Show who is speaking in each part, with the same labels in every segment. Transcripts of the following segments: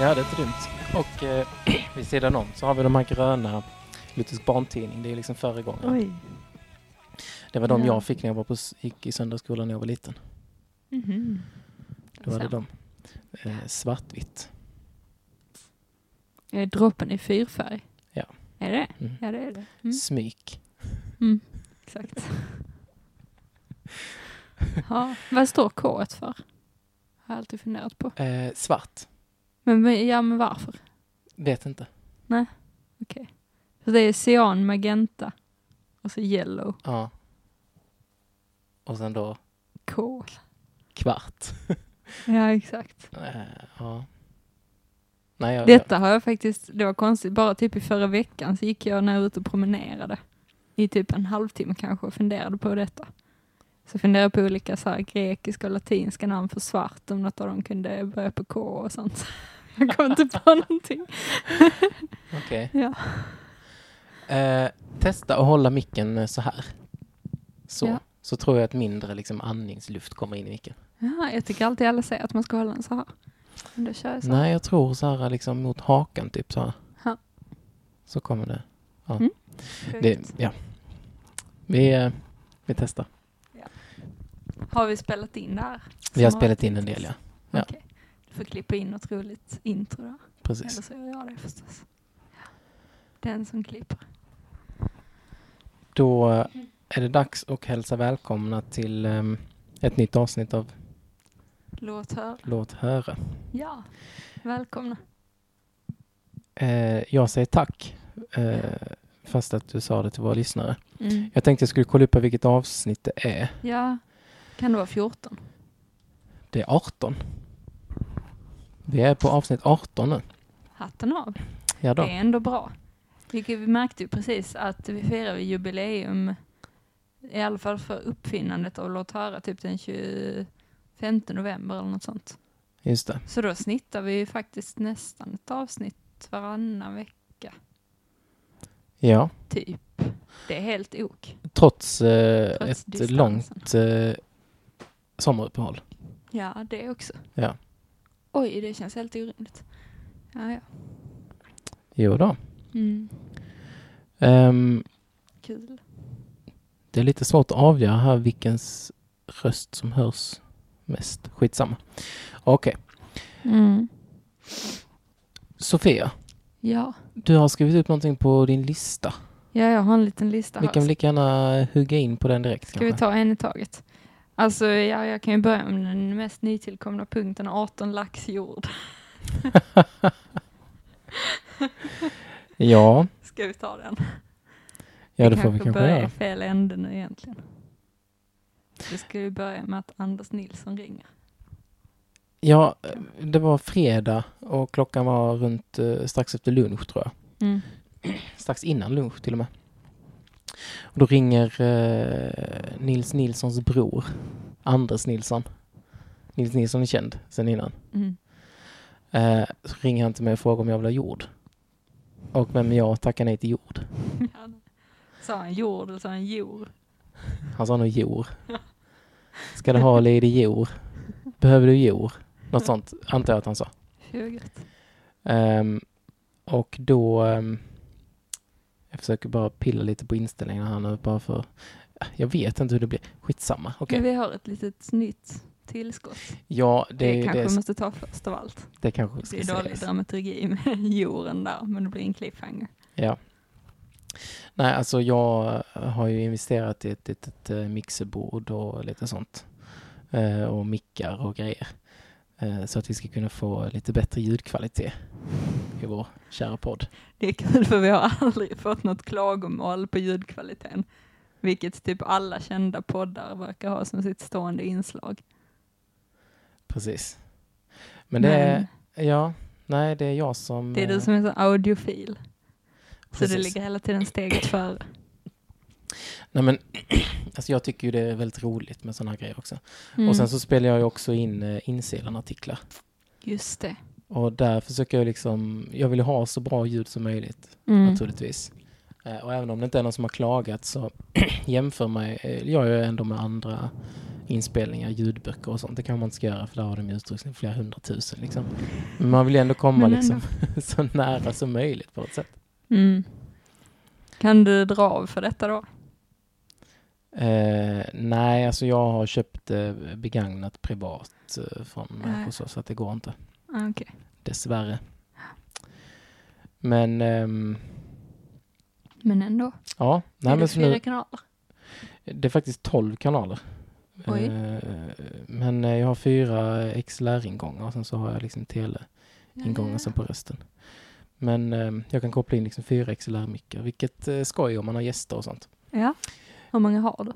Speaker 1: Ja, det är inte dumt. Och eh, vid sidan om så har vi de här gröna Luthers barntidning. Det är liksom föregångaren.
Speaker 2: Oj.
Speaker 1: Det var de
Speaker 2: Ja.
Speaker 1: jag fick när jag var på, s- gick i söndagsskolan när jag var liten.
Speaker 2: Mhm.
Speaker 1: Då var det
Speaker 2: Så.
Speaker 1: de. Eh, svartvitt.
Speaker 2: Är droppen i fyrfärg?
Speaker 1: Ja.
Speaker 2: Är det?
Speaker 1: Mm.
Speaker 2: Ja, det är det. Mm.
Speaker 1: Smyk.
Speaker 2: Mm. Exakt. ja. Vad står K för? Har jag alltid funderat på.
Speaker 1: Eh, svart.
Speaker 2: Men, men- ja, men varför?
Speaker 1: Vet inte.
Speaker 2: Så det är cyan, magenta och så yellow,
Speaker 1: Ja. Och sen då
Speaker 2: kol.
Speaker 1: kvart.
Speaker 2: Ja, exakt.
Speaker 1: Eh, ja. Nej, jag,
Speaker 2: Detta har jag faktiskt, det var konstigt, bara typ i förra veckan så gick jag när jag var ute och promenerade i typ en halvtimme kanske och funderade på detta. Så funderade jag på olika så här grekiska och latinska namn för svart, om något av dem kunde börja på K och sånt. Jag kom inte på någonting.
Speaker 1: Okej.
Speaker 2: Ja.
Speaker 1: Eh, testa att hålla micken eh, så här. Så.
Speaker 2: Ja.
Speaker 1: Så tror jag att mindre liksom, andningsluft kommer in i micken.
Speaker 2: Ja, jag tycker alltid alla säger att man ska hålla den så här. Men då kör jag så här.
Speaker 1: Nej, jag tror så här liksom mot hakan typ så här.
Speaker 2: Ja.
Speaker 1: Så kommer det.
Speaker 2: Sjukt.
Speaker 1: det ja. Vi, eh, vi testar.
Speaker 2: Har vi spelat in det här?
Speaker 1: Vi har
Speaker 2: Som
Speaker 1: spelat in en
Speaker 2: vanligt.
Speaker 1: del, ja. Ja.
Speaker 2: Okej. Du får klippa in något roligt intro då. Eller
Speaker 1: Precis.
Speaker 2: så gör jag det förstås. Ja. Den som klipper.
Speaker 1: Då eh, är det dags att hälsa välkomna till ehm, ett nytt avsnitt av
Speaker 2: Låt höra.
Speaker 1: Låt höra.
Speaker 2: Ja, välkomna.
Speaker 1: Eh, jag säger tack, eh, fast att du sa det till våra lyssnare. Jag tänkte jag skulle kolla upp vilket avsnitt det är.
Speaker 2: Ja, kan det vara 14?
Speaker 1: Det är 18. Vi är på avsnitt 18 nu.
Speaker 2: Hatten av.
Speaker 1: Ja
Speaker 2: Det
Speaker 1: då.
Speaker 2: är ändå bra. Vilket vi märkte ju precis att vi firar ju jubileum, i alla fall för uppfinnandet av Låt höra, typ den 25 november eller något sånt.
Speaker 1: Just det.
Speaker 2: Så då snittar vi ju faktiskt nästan ett avsnitt varannan vecka,
Speaker 1: Ja.
Speaker 2: typ. Det är helt ok.
Speaker 1: Trots, eh,
Speaker 2: Trots
Speaker 1: ett
Speaker 2: distansen.
Speaker 1: långt eh, sommaruppehåll.
Speaker 2: Ja, det också.
Speaker 1: Ja.
Speaker 2: Oj, det känns helt orimligt. Ja, ja.
Speaker 1: Jo då.
Speaker 2: Mm.
Speaker 1: Ehm,
Speaker 2: Kul.
Speaker 1: det är lite svårt att avgöra här vilkens röst som hörs mest. Skitsamma. Okej. Mm. Sofia,
Speaker 2: Ja.
Speaker 1: du har skrivit upp någonting på din lista.
Speaker 2: ja, jag har en liten lista
Speaker 1: Vi
Speaker 2: här.
Speaker 1: kan lika gärna hugga in på den direkt.
Speaker 2: Ska vi
Speaker 1: kanske.
Speaker 2: ta en i taget? Alltså, ja, jag kan ju börja med den mest nytillkomna punkten, 18 lax jord.
Speaker 1: Ja,
Speaker 2: Ska vi ta den?
Speaker 1: ja det får vi kanske
Speaker 2: börjar i
Speaker 1: göra.
Speaker 2: fel ände nu egentligen. Vi ska ju börja med att Anders Nilsson ringer.
Speaker 1: Ja, eh, det var fredag och klockan var runt eh, strax efter lunch tror jag. strax innan lunch till och med. Och då ringer eh, Nils Nilssons bror, Anders Nilsson. Nils Nilsson är känd sedan innan.
Speaker 2: Mm.
Speaker 1: Eh, så ringer han till mig och frågar om jag vill ha jord. Och vem är jag tackar nej till jord.
Speaker 2: Ja, det- Sa han jord eller sa han jord?
Speaker 1: Han sa nog jord. Ska du ha eller är det jord? Behöver du jord? Något sånt antar jag att han sa.
Speaker 2: Fugligt.
Speaker 1: Ehm, och då... ehm, jag försöker bara pilla lite på inställningarna här nu bara för... Jag vet inte hur det blir. Skitsamma. Okej.
Speaker 2: Men Vi har ett litet nytt tillskott.
Speaker 1: Ja,
Speaker 2: Det,
Speaker 1: det, det,
Speaker 2: kanske
Speaker 1: det,
Speaker 2: måste ta först av allt.
Speaker 1: kanske
Speaker 2: Det
Speaker 1: ska
Speaker 2: är dålig
Speaker 1: sägas.
Speaker 2: dramaturgi med jorden där, men det blir en cliffhanger.
Speaker 1: Ja. Nej, alltså jag har ju investerat i ett litet eh, mixerbord och lite sånt. Eh, Och mickar och grejer. Eh, Så att vi ska kunna få lite bättre ljudkvalitet i vår kära podd.
Speaker 2: Det är kul för vi har aldrig fått något klagomål på ljudkvaliteten. Vilket typ alla kända poddar verkar ha som sitt stående inslag.
Speaker 1: Precis. Men det är, ja, nej det är jag som...
Speaker 2: det är du
Speaker 1: eh,
Speaker 2: som är så audiofil. Så du
Speaker 1: precis.
Speaker 2: ligger hela tiden steget före.
Speaker 1: Nej men, alltså jag tycker ju det är väldigt roligt med sådana här grejer också.
Speaker 2: Mm.
Speaker 1: Och sen så spelar jag ju också in eh, insidanartiklar.
Speaker 2: Just det.
Speaker 1: Och där försöker jag liksom, jag vill ha så bra ljud som möjligt
Speaker 2: Mm.
Speaker 1: naturligtvis. Eh, Och även om det inte är någon som har klagat så jämför mig, eh, jag gör ändå med andra inspelningar, ljudböcker och sånt. Det kan man inte ska göra för där har de ju utrustning för flera hundratusen. Liksom. Men man vill ju ändå komma
Speaker 2: Men ändå.
Speaker 1: liksom, så nära som möjligt på något sätt.
Speaker 2: Mm. Kan du dra av för detta då?
Speaker 1: Eh, nej, alltså jag har köpt eh, begagnat privat eh, från
Speaker 2: Ja.
Speaker 1: människor så, så att det går inte.
Speaker 2: Ah, Okej.
Speaker 1: Dessvärre. Men ehm,
Speaker 2: Men ändå.
Speaker 1: ja, nej,
Speaker 2: är det
Speaker 1: men så
Speaker 2: fyra
Speaker 1: nu,
Speaker 2: kanaler?
Speaker 1: det är faktiskt 12 kanaler.
Speaker 2: Oj.
Speaker 1: Eh, men eh, jag har fyra XLR-ingångar och sen så har jag liksom tele-ingångar sen på resten. Men ehm, jag kan koppla in liksom fyra XLR-mickar, vilket eh, skoj om man har gäster och sånt.
Speaker 2: Ja. Hur många har du?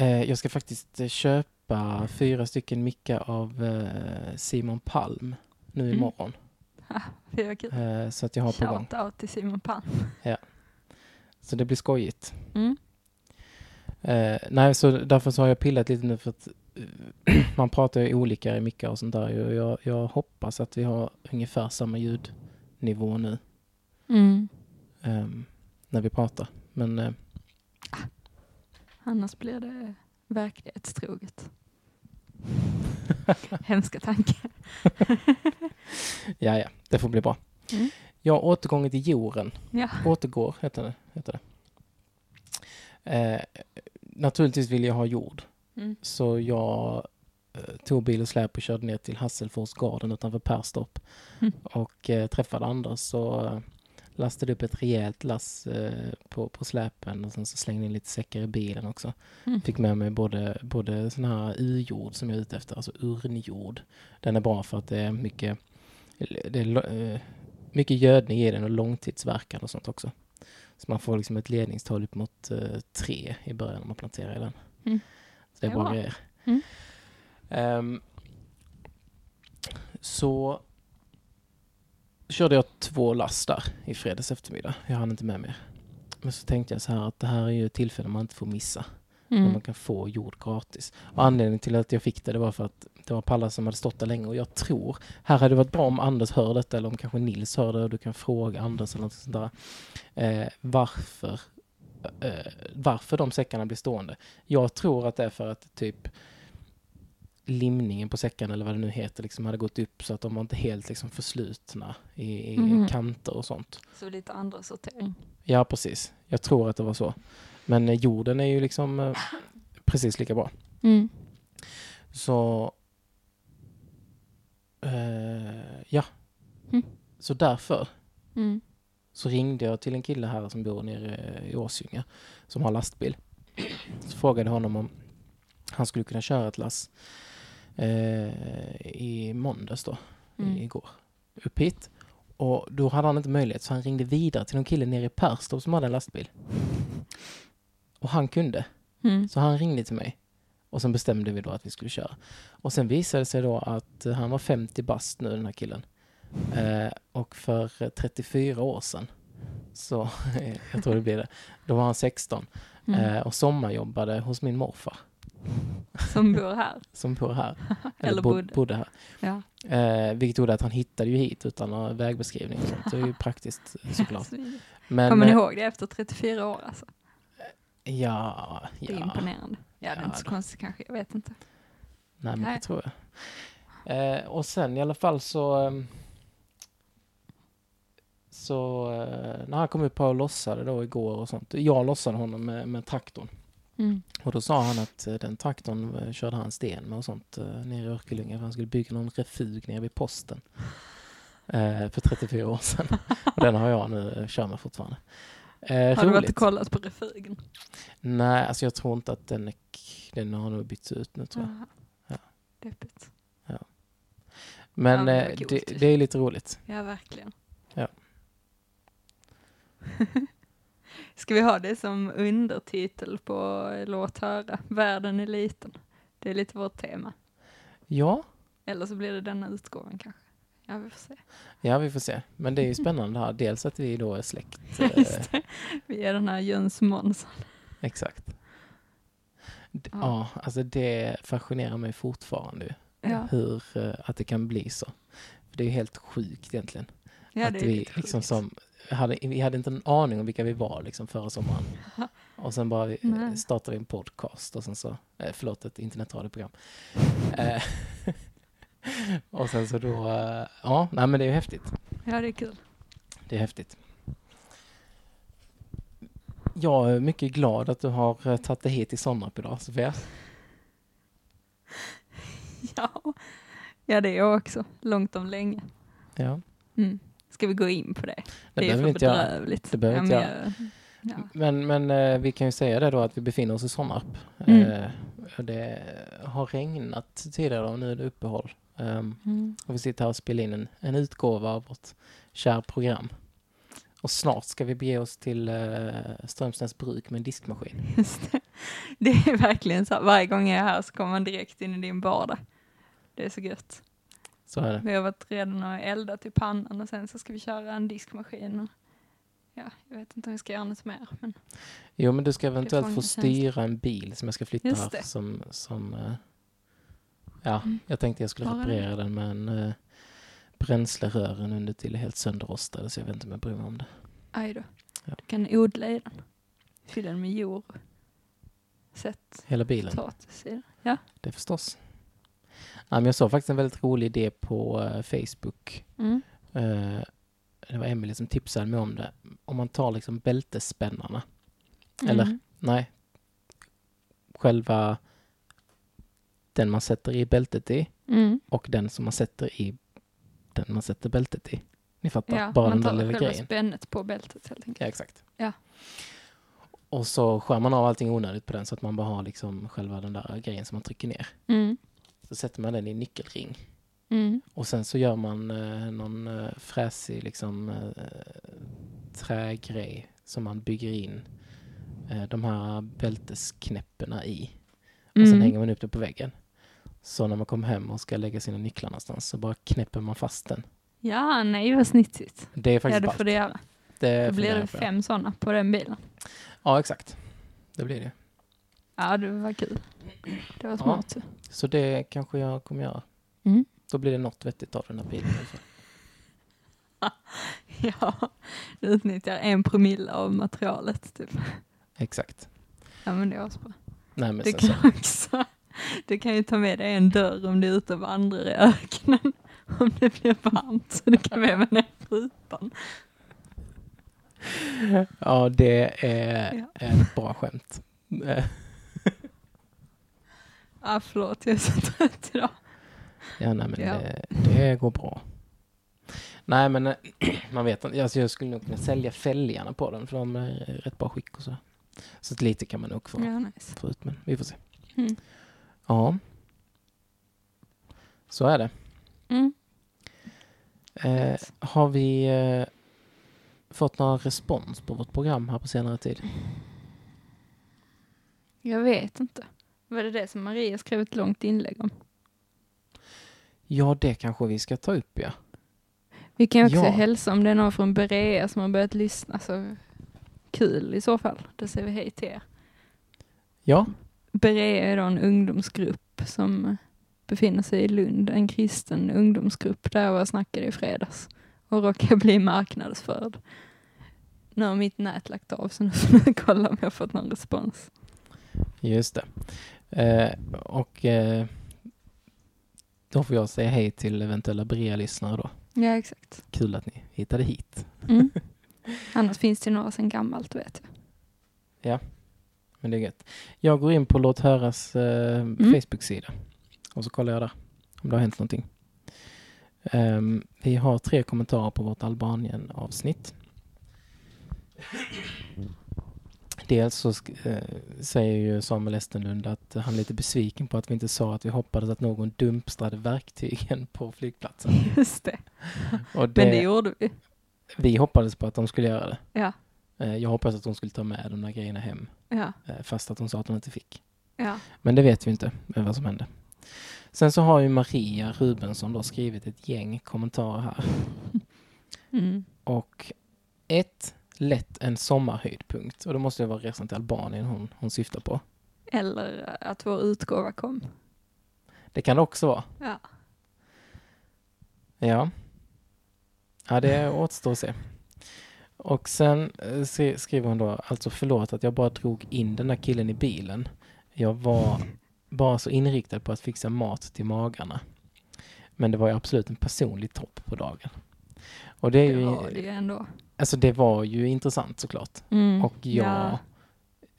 Speaker 1: Eh, jag ska faktiskt eh, köpa fyra stycken mickar av eh, Simon Palm nu
Speaker 2: Mm.
Speaker 1: imorgon.
Speaker 2: Fyra kul.
Speaker 1: Eh, så att jag har på gång.
Speaker 2: Shout out till Simon Palm.
Speaker 1: Så det blir skojigt.
Speaker 2: Mm.
Speaker 1: Eh, nej, så därför så har jag pillat lite nu för att eh, man pratar ju olika i mickar och sånt där. ju, och Jag, jag hoppas att vi har ungefär samma ljudnivå nu
Speaker 2: Mm.
Speaker 1: ehm, när vi pratar. Men eh,
Speaker 2: Annars blir det verklighetstroget. Hemska tankar.
Speaker 1: ja, ja, det får bli bra.
Speaker 2: Mm.
Speaker 1: Jag har återgången till jorden.
Speaker 2: Ja.
Speaker 1: Återgår heter det. Heter det. Eh, naturligtvis vill jag ha jord.
Speaker 2: Mm.
Speaker 1: Så jag eh, tog bil och släp och körde ner till Hasselforsgården utanför Perstorp.
Speaker 2: Mm.
Speaker 1: Och eh, träffade Anders och eh, lastade upp ett rejält lass eh, på, på släpen och sen så slängde jag in lite säckar i bilen också.
Speaker 2: Mm.
Speaker 1: Fick med mig både, både sån här urjord som jag är ute efter, alltså urnjord. Den är bra för att det är mycket, det är, lo- eh, mycket gödning i den och långtidsverkan och sånt också. Så man får liksom ett ledningstal upp mot eh, tre i början när man planterar i den.
Speaker 2: Mm.
Speaker 1: Så det är
Speaker 2: Det är
Speaker 1: bra
Speaker 2: bra.
Speaker 1: grejer.
Speaker 2: Mm.
Speaker 1: Ehm, så körde jag två lass där i fredags eftermiddag. Jag hann inte med mer. Men så tänkte jag så här att det här är ju ett tillfälle man inte får missa när
Speaker 2: Mm.
Speaker 1: man kan få jord gratis. Och anledningen till att jag fick det, det var för att det var pallar som hade stått där länge och jag tror, här hade det varit bra om Anders hör detta eller om kanske Nils hör det och du kan fråga Anders eller något sånt där. Eh, varför, eh, varför de säckarna blir stående. Jag tror att det är för att typ limningen på säckarna eller vad det nu heter liksom hade gått upp så att de var inte helt liksom förslutna i, i
Speaker 2: Mhm.
Speaker 1: kanter och sånt.
Speaker 2: Så lite andra sortering.
Speaker 1: Ja, precis. Jag tror att det var så. Men eh, jorden är ju liksom eh, precis lika bra.
Speaker 2: Mm.
Speaker 1: Så... Eh, ja.
Speaker 2: Mm.
Speaker 1: Så därför
Speaker 2: Mm.
Speaker 1: så ringde jag till en kille här som bor nere i Åsjunga som har lastbil. Så frågade jag honom om han skulle kunna köra ett lass eh, i måndags då,
Speaker 2: Mm.
Speaker 1: i igår, upp hit. Och då hade han inte möjlighet så han ringde vidare till någon kille nere i Perstorp som hade en lastbil. Och han kunde.
Speaker 2: Mm.
Speaker 1: Så han ringde till mig och sen bestämde vi då att vi skulle köra. Och sen visade det sig då att han var 50 bast nu den här killen. Eh, och för 34 år sedan, så jag tror det blir det, då var han 16
Speaker 2: Mm.
Speaker 1: eh, och sommarjobbade hos min morfar
Speaker 2: Som bor här.
Speaker 1: som bor här.
Speaker 2: Eller
Speaker 1: bo-
Speaker 2: bodde.
Speaker 1: bodde här.
Speaker 2: Ja.
Speaker 1: Eh, vilket gjorde att han hittade ju hit utan någon vägbeskrivning. och sånt. Det är ju praktiskt eh, såklart.
Speaker 2: Alltså, vi-
Speaker 1: Men,
Speaker 2: Kommer ni
Speaker 1: eh,
Speaker 2: ihåg det efter 34 år alltså?
Speaker 1: Ja,
Speaker 2: Det är
Speaker 1: ja.
Speaker 2: imponerande. Ja, det är
Speaker 1: Ja,
Speaker 2: inte så
Speaker 1: det-
Speaker 2: konstigt kanske. Jag vet inte.
Speaker 1: Nej, men det
Speaker 2: Nej.
Speaker 1: tror jag. Eh, och sen i alla fall så... ehm, Så eh, när han kom upp här och lossade då igår och sånt. Jag lossade honom med, med traktorn.
Speaker 2: Mm.
Speaker 1: Och då sa han att eh, den traktorn eh, körde han sten med och sånt eh, nere i Örkelljunga för han skulle bygga någon refug nere vid posten. Eh, för 34 år sedan. och den har jag nu, eh, kör med fortfarande. Eh,
Speaker 2: Har du varit
Speaker 1: roligt.
Speaker 2: och kollat på refugen?
Speaker 1: Nej, alltså jag tror inte att den, är k- den har nog bytts ut nu tror jag.
Speaker 2: Jaha.
Speaker 1: Ja.
Speaker 2: Deppigt.
Speaker 1: Men
Speaker 2: Ja, det var
Speaker 1: eh,
Speaker 2: coolt.
Speaker 1: det, det är lite roligt.
Speaker 2: Ja, verkligen.
Speaker 1: Ja.
Speaker 2: Ska vi ha det som undertitel på Låt höra? Världen är liten. Det är lite vårt tema.
Speaker 1: Ja,
Speaker 2: Eller så blir det denna utgåvan kanske. Ja, vi får se.
Speaker 1: Ja, vi får se. Men det är ju spännande här. Dels att vi då är släkt. Eh,
Speaker 2: Just det. Vi är den här Jöns Månsson.
Speaker 1: exakt. D-
Speaker 2: Ja.
Speaker 1: ja, alltså det fascinerar mig fortfarande. ju.
Speaker 2: Ja,
Speaker 1: Hur, eh, att det kan bli så. För det är ju helt sjukt egentligen.
Speaker 2: ja
Speaker 1: att
Speaker 2: det är
Speaker 1: vi
Speaker 2: lite
Speaker 1: liksom
Speaker 2: sjukt.
Speaker 1: som, hade, vi hade inte en aning om vilka vi var liksom förra sommaren. Och sen bara eh,
Speaker 2: Nej.
Speaker 1: startade vi en podcast och sen så, eh, förlåt ett internetradioprogram. Eh, och sen så då, eh, ja, nej men det är ju häftigt.
Speaker 2: Ja, det är kul.
Speaker 1: Det är häftigt. Jag är mycket glad att du har eh, tagit dig hit till Sonnarp idag, Sofia.
Speaker 2: Ja, ja det är jag också. Långt om länge.
Speaker 1: Ja,
Speaker 2: Mm. Ska vi gå in på det?
Speaker 1: det,
Speaker 2: är
Speaker 1: behöver vi inte göra.
Speaker 2: bedrövligt.
Speaker 1: Det behöver
Speaker 2: ja,
Speaker 1: inte
Speaker 2: men jag- ja.
Speaker 1: Men, men eh, vi kan ju säga det då att vi befinner oss i Sonnarp.
Speaker 2: Mm.
Speaker 1: Eh, och det har regnat tidigare och nu är det uppehåll. Ehm,
Speaker 2: Mm.
Speaker 1: och vi sitter här och spelar in en, en utgåva av vårt kära program. Och snart ska vi bege oss till eh, Strömsnäs bruk med en diskmaskin.
Speaker 2: Just det. det är verkligen så här, varje gång jag är här så kommer man direkt in i din vardag. Det är så gött.
Speaker 1: Så är det.
Speaker 2: Vi har varit redan och eldat i pannan och sen så ska vi köra en diskmaskin. Och ja, jag vet inte om vi ska göra något mer. Men
Speaker 1: Jo men du ska
Speaker 2: får
Speaker 1: eventuellt
Speaker 2: en
Speaker 1: få
Speaker 2: tjänst.
Speaker 1: styra en bil som jag ska flytta
Speaker 2: Just
Speaker 1: här.
Speaker 2: det.
Speaker 1: Som, som, eh, ja,
Speaker 2: Mm.
Speaker 1: jag tänkte jag skulle
Speaker 2: Bara det.
Speaker 1: reparera den men eh, bränslerören under till är helt sönderrostade så jag vet inte om jag bryr mig om det.
Speaker 2: aj då.
Speaker 1: Ja.
Speaker 2: Du kan odla i den. Fylla den med jord. Sätt
Speaker 1: Hela bilen.
Speaker 2: potatis i den. Ja.
Speaker 1: Det förstås. Ja, men jag såg faktiskt en väldigt rolig idé på eh, Facebook.
Speaker 2: Mm.
Speaker 1: Eh, det var Emily som tipsade mig om det. Om man tar liksom bältesspännarna. Eller?
Speaker 2: Mm.
Speaker 1: Nej. Själva den man sätter i bältet i
Speaker 2: Mm.
Speaker 1: och den som man sätter i den man sätter bältet i. Ni fattar,
Speaker 2: Ja,
Speaker 1: bara den
Speaker 2: man
Speaker 1: där
Speaker 2: tar
Speaker 1: lilla
Speaker 2: själva
Speaker 1: grejen.
Speaker 2: spännet på bältet helt enkelt.
Speaker 1: Ja, exakt.
Speaker 2: Ja.
Speaker 1: Och så skär man av allting onödigt på den så att man bara har liksom själva den där grejen som man trycker ner.
Speaker 2: Mm.
Speaker 1: Så sätter man den i en nyckelring.
Speaker 2: Mm.
Speaker 1: Och sen så gör man eh, någon eh, fräsig liksom, eh, trägrej som man bygger in eh, de här bältesknäpporna i. Och sen
Speaker 2: Mm.
Speaker 1: hänger man upp det på väggen. Så när man kommer hem och ska lägga sina nycklar någonstans så bara knäpper man fast den.
Speaker 2: Ja, nej vad snitsigt.
Speaker 1: Det är
Speaker 2: Ja,
Speaker 1: faktiskt
Speaker 2: det
Speaker 1: ballt.
Speaker 2: får du göra.
Speaker 1: Det
Speaker 2: Då blir
Speaker 1: funderar
Speaker 2: det
Speaker 1: jag på.
Speaker 2: fem sådana på den bilen.
Speaker 1: Ja, exakt. Det blir det.
Speaker 2: Ja, det var kul. Det var
Speaker 1: Ja.
Speaker 2: smart. ju.
Speaker 1: Så det kanske jag kommer göra.
Speaker 2: Mm.
Speaker 1: Då blir det något vettigt av den här bilen. i alla fall.
Speaker 2: Ja, du utnyttjar en promille av materialet typ.
Speaker 1: Exakt.
Speaker 2: Ja, men det är asbra.
Speaker 1: Nej, men
Speaker 2: Du
Speaker 1: sen så.
Speaker 2: kan också, du kan ju ta med dig en dörr om du är ute och vandrar i öknen. Om det blir varmt så du kan med dig den rutan.
Speaker 1: Ja, det är
Speaker 2: Ja.
Speaker 1: ett bra skämt. Eh,
Speaker 2: Ja, förlåt, jag är så trött idag.
Speaker 1: Ja, nej, men
Speaker 2: Ja.
Speaker 1: Det, det går bra. Nej, men eh, man vet inte. Alltså, jag skulle nog kunna sälja fälgarna på den för de är i rätt bra skick och så. Så att lite kan man nog få,
Speaker 2: Ja, nice.
Speaker 1: få ut, men vi får se.
Speaker 2: Mm.
Speaker 1: Ja. Så är det.
Speaker 2: Mm.
Speaker 1: Eh, har vi eh, fått någon respons på vårt program här på senare tid?
Speaker 2: Jag vet inte. Var det det som Maria skrev ett långt inlägg om?
Speaker 1: Ja, det kanske vi ska ta upp, ja.
Speaker 2: Vi kan ju också
Speaker 1: Ja.
Speaker 2: hälsa om det är någon från Berea som har börjat lyssna. Så kul i så fall. Då säger vi hej till er.
Speaker 1: Ja,
Speaker 2: Berea är då en ungdomsgrupp som befinner sig i Lund. En kristen ungdomsgrupp där jag var och snackade i fredags. Och råkade bli marknadsförd. Nu har mitt nät lagt av så nu får jag kolla om jag har fått någon respons.
Speaker 1: just det. Eh, och eh, då får jag säga hej till eventuella Brea-lyssnare då.
Speaker 2: Ja, exakt.
Speaker 1: Kul att ni hittade hit.
Speaker 2: Mm. Annars finns det några sedan gammalt vet jag.
Speaker 1: Men det är gött. Jag går in på Låt höras eh,
Speaker 2: Mm.
Speaker 1: Facebook-sida. Och så kollar jag där. Om det har hänt någonting. Ehm, vi har tre kommentarer på vårt Albanien-avsnitt. Dels så sk- eh, säger ju Samuel Estenlund att han är lite besviken på att vi inte sa att vi hoppades att någon dumpstrade verktygen på flygplatsen.
Speaker 2: Just det.
Speaker 1: Och
Speaker 2: Mm. Men
Speaker 1: det,
Speaker 2: det gjorde vi.
Speaker 1: vi hoppades på att de skulle göra det.
Speaker 2: Ja.
Speaker 1: Eh, jag hoppades att de skulle ta med de där grejerna hem.
Speaker 2: Ja.
Speaker 1: eh, fast att hon sa att hon inte fick.
Speaker 2: Ja.
Speaker 1: Men det vet vi inte eh, vad som hände. Sen så har ju Maria Rubensson då skrivit ett gäng kommentarer här.
Speaker 2: Mm.
Speaker 1: Och ett, lätt en sommarhöjdpunkt. Och då måste det vara resan till Albanien hon, hon syftar på.
Speaker 2: Eller att vår utgåva kom.
Speaker 1: Det kan det också vara.
Speaker 2: Ja.
Speaker 1: Ja. Ja, det återstår att se. Och sen eh, skri- skriver hon då, alltså förlåt att jag bara drog in den där killen i bilen. Jag var bara så inriktad på att fixa mat till magarna. Men det var ju absolut en personlig topp på dagen. Och det är
Speaker 2: Det
Speaker 1: ju,
Speaker 2: var det ju ändå.
Speaker 1: alltså det var ju intressant såklart.
Speaker 2: Mm.
Speaker 1: Och jag,
Speaker 2: Ja.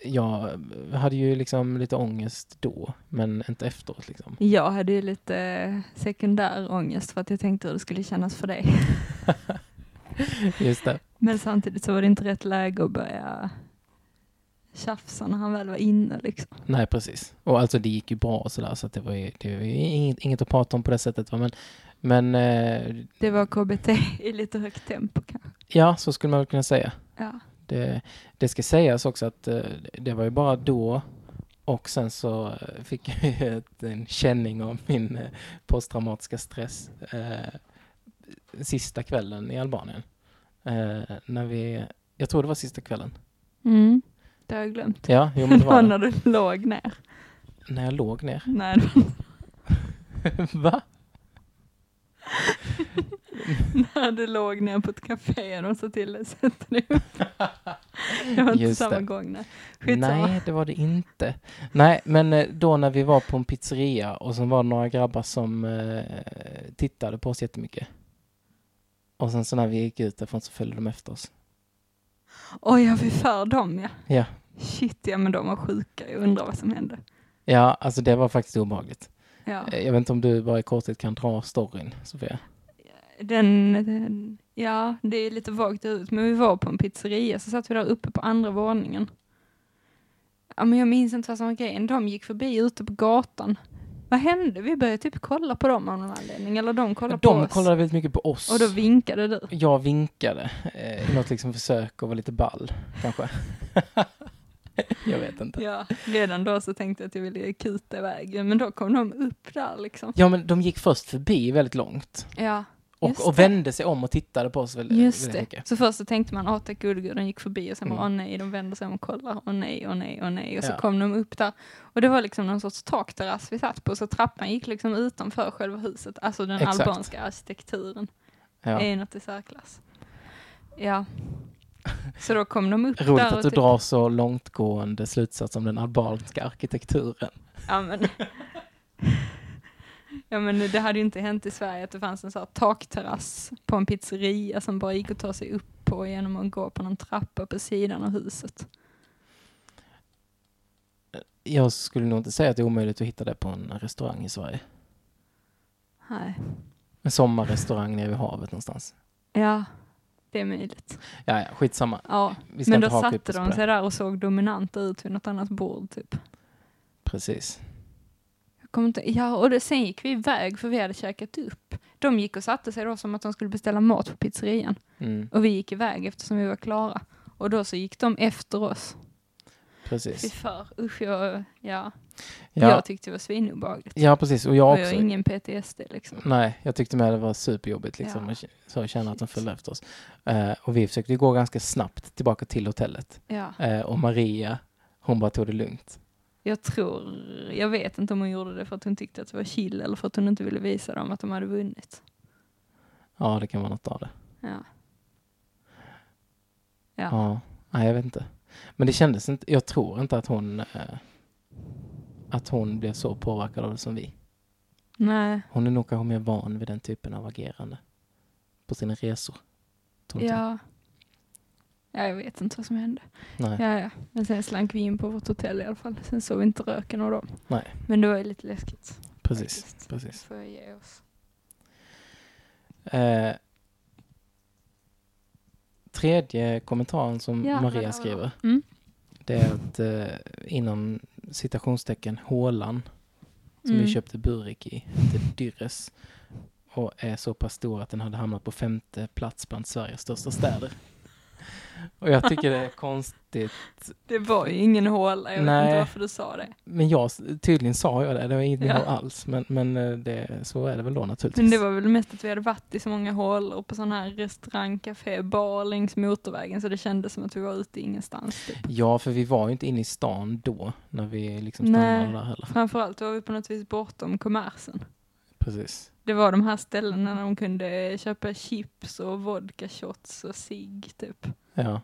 Speaker 1: jag hade ju liksom lite ångest då, men inte efteråt liksom.
Speaker 2: Jag hade ju lite sekundär ångest för att jag tänkte hur det skulle kännas för dig.
Speaker 1: Just det.
Speaker 2: Men samtidigt så var det inte rätt läge att börja tjafsa när han väl var inne liksom.
Speaker 1: Nej, precis. Och alltså det gick ju bra och sådär, så att det var ju, det var ju inget, inget att prata om på det sättet. Va? Men, men eh,
Speaker 2: Det var KBT i lite högt tempo kanske.
Speaker 1: ja, så skulle man väl kunna säga.
Speaker 2: Ja.
Speaker 1: Det, det ska sägas också att eh, det var ju bara då och sen så eh, fick jag ju ett- en känning av min eh, posttraumatiska stress eh, sista kvällen i Albanien. Eh, när vi, jag tror det var sista kvällen.
Speaker 2: Mm. Det har jag glömt.
Speaker 1: Ja, jo, men det var det.
Speaker 2: när du låg ner.
Speaker 1: När jag låg ner.
Speaker 2: Nej, det var
Speaker 1: Va?
Speaker 2: när du låg ner på ett café och de sa till dig sätta dig upp. Det var inte
Speaker 1: Just
Speaker 2: samma
Speaker 1: det.
Speaker 2: gång. Nej. Skitsamma.
Speaker 1: Nej, det var det inte. Nej, men eh, då när vi var på en pizzeria och så var det några grabbar som eh, tittade på oss jättemycket. Och sen så när vi gick ut därifrån så följde de efter oss.
Speaker 2: Oj, jag vi för dem ja.
Speaker 1: Ja.
Speaker 2: Shit, ja men de var sjuka. Jag undrar vad som hände.
Speaker 1: Ja, alltså det var faktiskt obehagligt.
Speaker 2: Ja.
Speaker 1: Eh, Jag vet inte om du bara i korthet kan dra storyn, Sofia?
Speaker 2: Den, den, ja, det är lite vagt ut, men vi var på en pizzeria, så satt vi där uppe på andra våningen. Ja, men jag minns inte vad som var grejen. De gick förbi ute på gatan. Vad hände? Vi började typ kolla på dem av någon anledning, eller de kollade på
Speaker 1: De
Speaker 2: oss.
Speaker 1: kollade väldigt mycket på oss.
Speaker 2: Och då vinkade du.
Speaker 1: Jag vinkade eh, i något liksom försök att vara lite ball, kanske. jag vet inte.
Speaker 2: Ja, redan då så tänkte jag att jag ville kuta iväg, men då kom de upp där liksom.
Speaker 1: Ja, men de gick först förbi väldigt långt
Speaker 2: Ja, Just
Speaker 1: och, och
Speaker 2: det.
Speaker 1: vände sig om och tittade på oss väldigt,
Speaker 2: just
Speaker 1: väldigt
Speaker 2: det.
Speaker 1: mycket.
Speaker 2: Så först så tänkte man, åh tack gode gud, de gick förbi och sen
Speaker 1: Mm.
Speaker 2: bara, åh nej, de vänder sig om och kollar, åh nej, åh nej, åh nej. Och så
Speaker 1: Ja.
Speaker 2: kom de upp där. Och det var liksom någon sorts takterrass vi satt på, så trappan gick liksom utanför själva huset. Alltså den
Speaker 1: Exakt.
Speaker 2: albanska arkitekturen
Speaker 1: Ja.
Speaker 2: är något i särklass. Ja. Så då kom de upp
Speaker 1: Roligt
Speaker 2: där
Speaker 1: att
Speaker 2: och
Speaker 1: du
Speaker 2: typ-
Speaker 1: drar så långtgående slutsats om den albanska arkitekturen.
Speaker 2: Ja men. ja men det hade ju inte hänt i Sverige att det fanns en sån här takterrass på en pizzeria som bara gick att ta sig upp på genom att gå på någon trappa på sidan av huset.
Speaker 1: Jag skulle nog inte säga att det är omöjligt att hitta det på en restaurang i Sverige.
Speaker 2: Nej.
Speaker 1: En sommarrestaurang nere vid havet någonstans.
Speaker 2: Ja, det är möjligt.
Speaker 1: Ja, ja, skitsamma.
Speaker 2: Ja.
Speaker 1: Vi ska
Speaker 2: Men
Speaker 1: inte
Speaker 2: då
Speaker 1: haka upp
Speaker 2: satte
Speaker 1: oss
Speaker 2: de
Speaker 1: på det.
Speaker 2: sig där och såg dominanta ut vid något annat bord typ.
Speaker 1: Precis.
Speaker 2: Jag kommer inte, ja, och det, sen gick vi iväg för vi hade käkat upp. De gick och satte sig då som att de skulle beställa mat på pizzerian.
Speaker 1: Mm,
Speaker 2: Och vi gick iväg eftersom vi var klara. Och då så gick de efter oss. Fy
Speaker 1: precis.
Speaker 2: för, usch jag, ja.
Speaker 1: Ja,
Speaker 2: Jag tyckte det var svinobehagligt.
Speaker 1: ja, precis. Och jag
Speaker 2: och jag har
Speaker 1: också.
Speaker 2: ingen PTSD liksom.
Speaker 1: Nej, jag tyckte med det var superjobbigt liksom.
Speaker 2: Ja.
Speaker 1: att k- Så känna att de
Speaker 2: Shit.
Speaker 1: följde efter oss. Eh, och vi försökte ju gå ganska snabbt tillbaka till hotellet.
Speaker 2: Ja.
Speaker 1: Eh, och Maria, hon bara tog det lugnt.
Speaker 2: Jag tror, jag vet inte om hon gjorde det för att hon tyckte att det var chill eller för att hon inte ville visa dem att de hade vunnit.
Speaker 1: Ja, det kan vara något av det.
Speaker 2: Ja.
Speaker 1: Ja.
Speaker 2: Ja.
Speaker 1: Nej, jag vet inte. Men det kändes inte, jag tror inte att hon eh, att hon blev så påverkad av det som vi.
Speaker 2: Nej,
Speaker 1: Hon är nog kanske mer van vid den typen av agerande på sina resor. Tror inte
Speaker 2: ja. Ja, jag vet inte vad som hände.
Speaker 1: jag. Nej.
Speaker 2: Ja, ja. Men sen slank vi in på vårt hotell i alla fall. Sen såg vi inte röken av dem.
Speaker 1: Nej.
Speaker 2: Men det var ju lite läskigt.
Speaker 1: precis.
Speaker 2: faktiskt. Det
Speaker 1: precis.
Speaker 2: får jag ge oss.
Speaker 1: Eh, tredje kommentaren som
Speaker 2: Ja, vad det var.
Speaker 1: Maria skriver,
Speaker 2: Mm.
Speaker 1: det är att eh, inom citationstecken hålan som
Speaker 2: Mm.
Speaker 1: vi köpte Burek i, till Dyrres. Och är så pass stor att den hade hamnat på femte plats bland Sveriges största städer. Och jag tycker det är konstigt.
Speaker 2: Det var ju ingen håla, jag vet
Speaker 1: Nej.
Speaker 2: inte varför du sa det.
Speaker 1: Men jag, tydligen sa jag det, det var inget
Speaker 2: Ja.
Speaker 1: ja. alls. Men, men eh, det, så är det väl då naturligtvis.
Speaker 2: Men det var väl mest att vi hade varit i så många hålor på sån här restaurang, café, bar längs motorvägen så det kändes som att vi var ute i ingenstans. Typ.
Speaker 1: Ja, för vi var ju inte inne i stan då, när vi liksom
Speaker 2: Nej.
Speaker 1: stannade där heller.
Speaker 2: Framförallt var vi på något vis bortom kommersen.
Speaker 1: Precis.
Speaker 2: Det var de här ställena där de kunde köpa chips och vodka shots och cigg typ.
Speaker 1: Ja.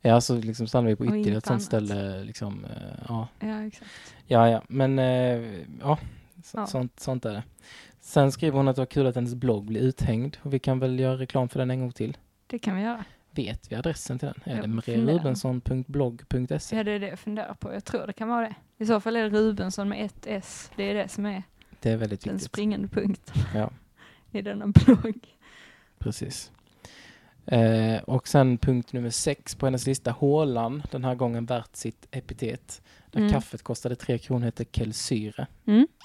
Speaker 1: Ja, så liksom stannade vi på
Speaker 2: Och
Speaker 1: ytterligare
Speaker 2: inget
Speaker 1: ett sånt
Speaker 2: annat.
Speaker 1: ställe. Liksom, eh, ja.
Speaker 2: Ja, exakt.
Speaker 1: ja, ja, men eh, ja, så,
Speaker 2: Ja.
Speaker 1: Sånt, sånt är det. Sen skriver hon att det var kul att hennes blogg blev uthängd och vi kan väl göra reklam för den en gång till.
Speaker 2: Det kan vi göra.
Speaker 1: Vet vi adressen till den? Är
Speaker 2: Jag
Speaker 1: det
Speaker 2: funderar.
Speaker 1: mariarubensson.blogg.se?
Speaker 2: Ja, det är det jag funderar på. Jag tror det kan vara det. I så fall är det Rubensson med ett S. Det är det som är
Speaker 1: Det är väldigt
Speaker 2: den
Speaker 1: viktigt.
Speaker 2: springande punkten
Speaker 1: Ja.
Speaker 2: i denna blogg.
Speaker 1: Precis. Eh, och sen punkt nummer sex på hennes lista, hålan, den här gången värt sitt epitet. Där
Speaker 2: Mm.
Speaker 1: kaffet kostade tre kronor hette Kelsyre.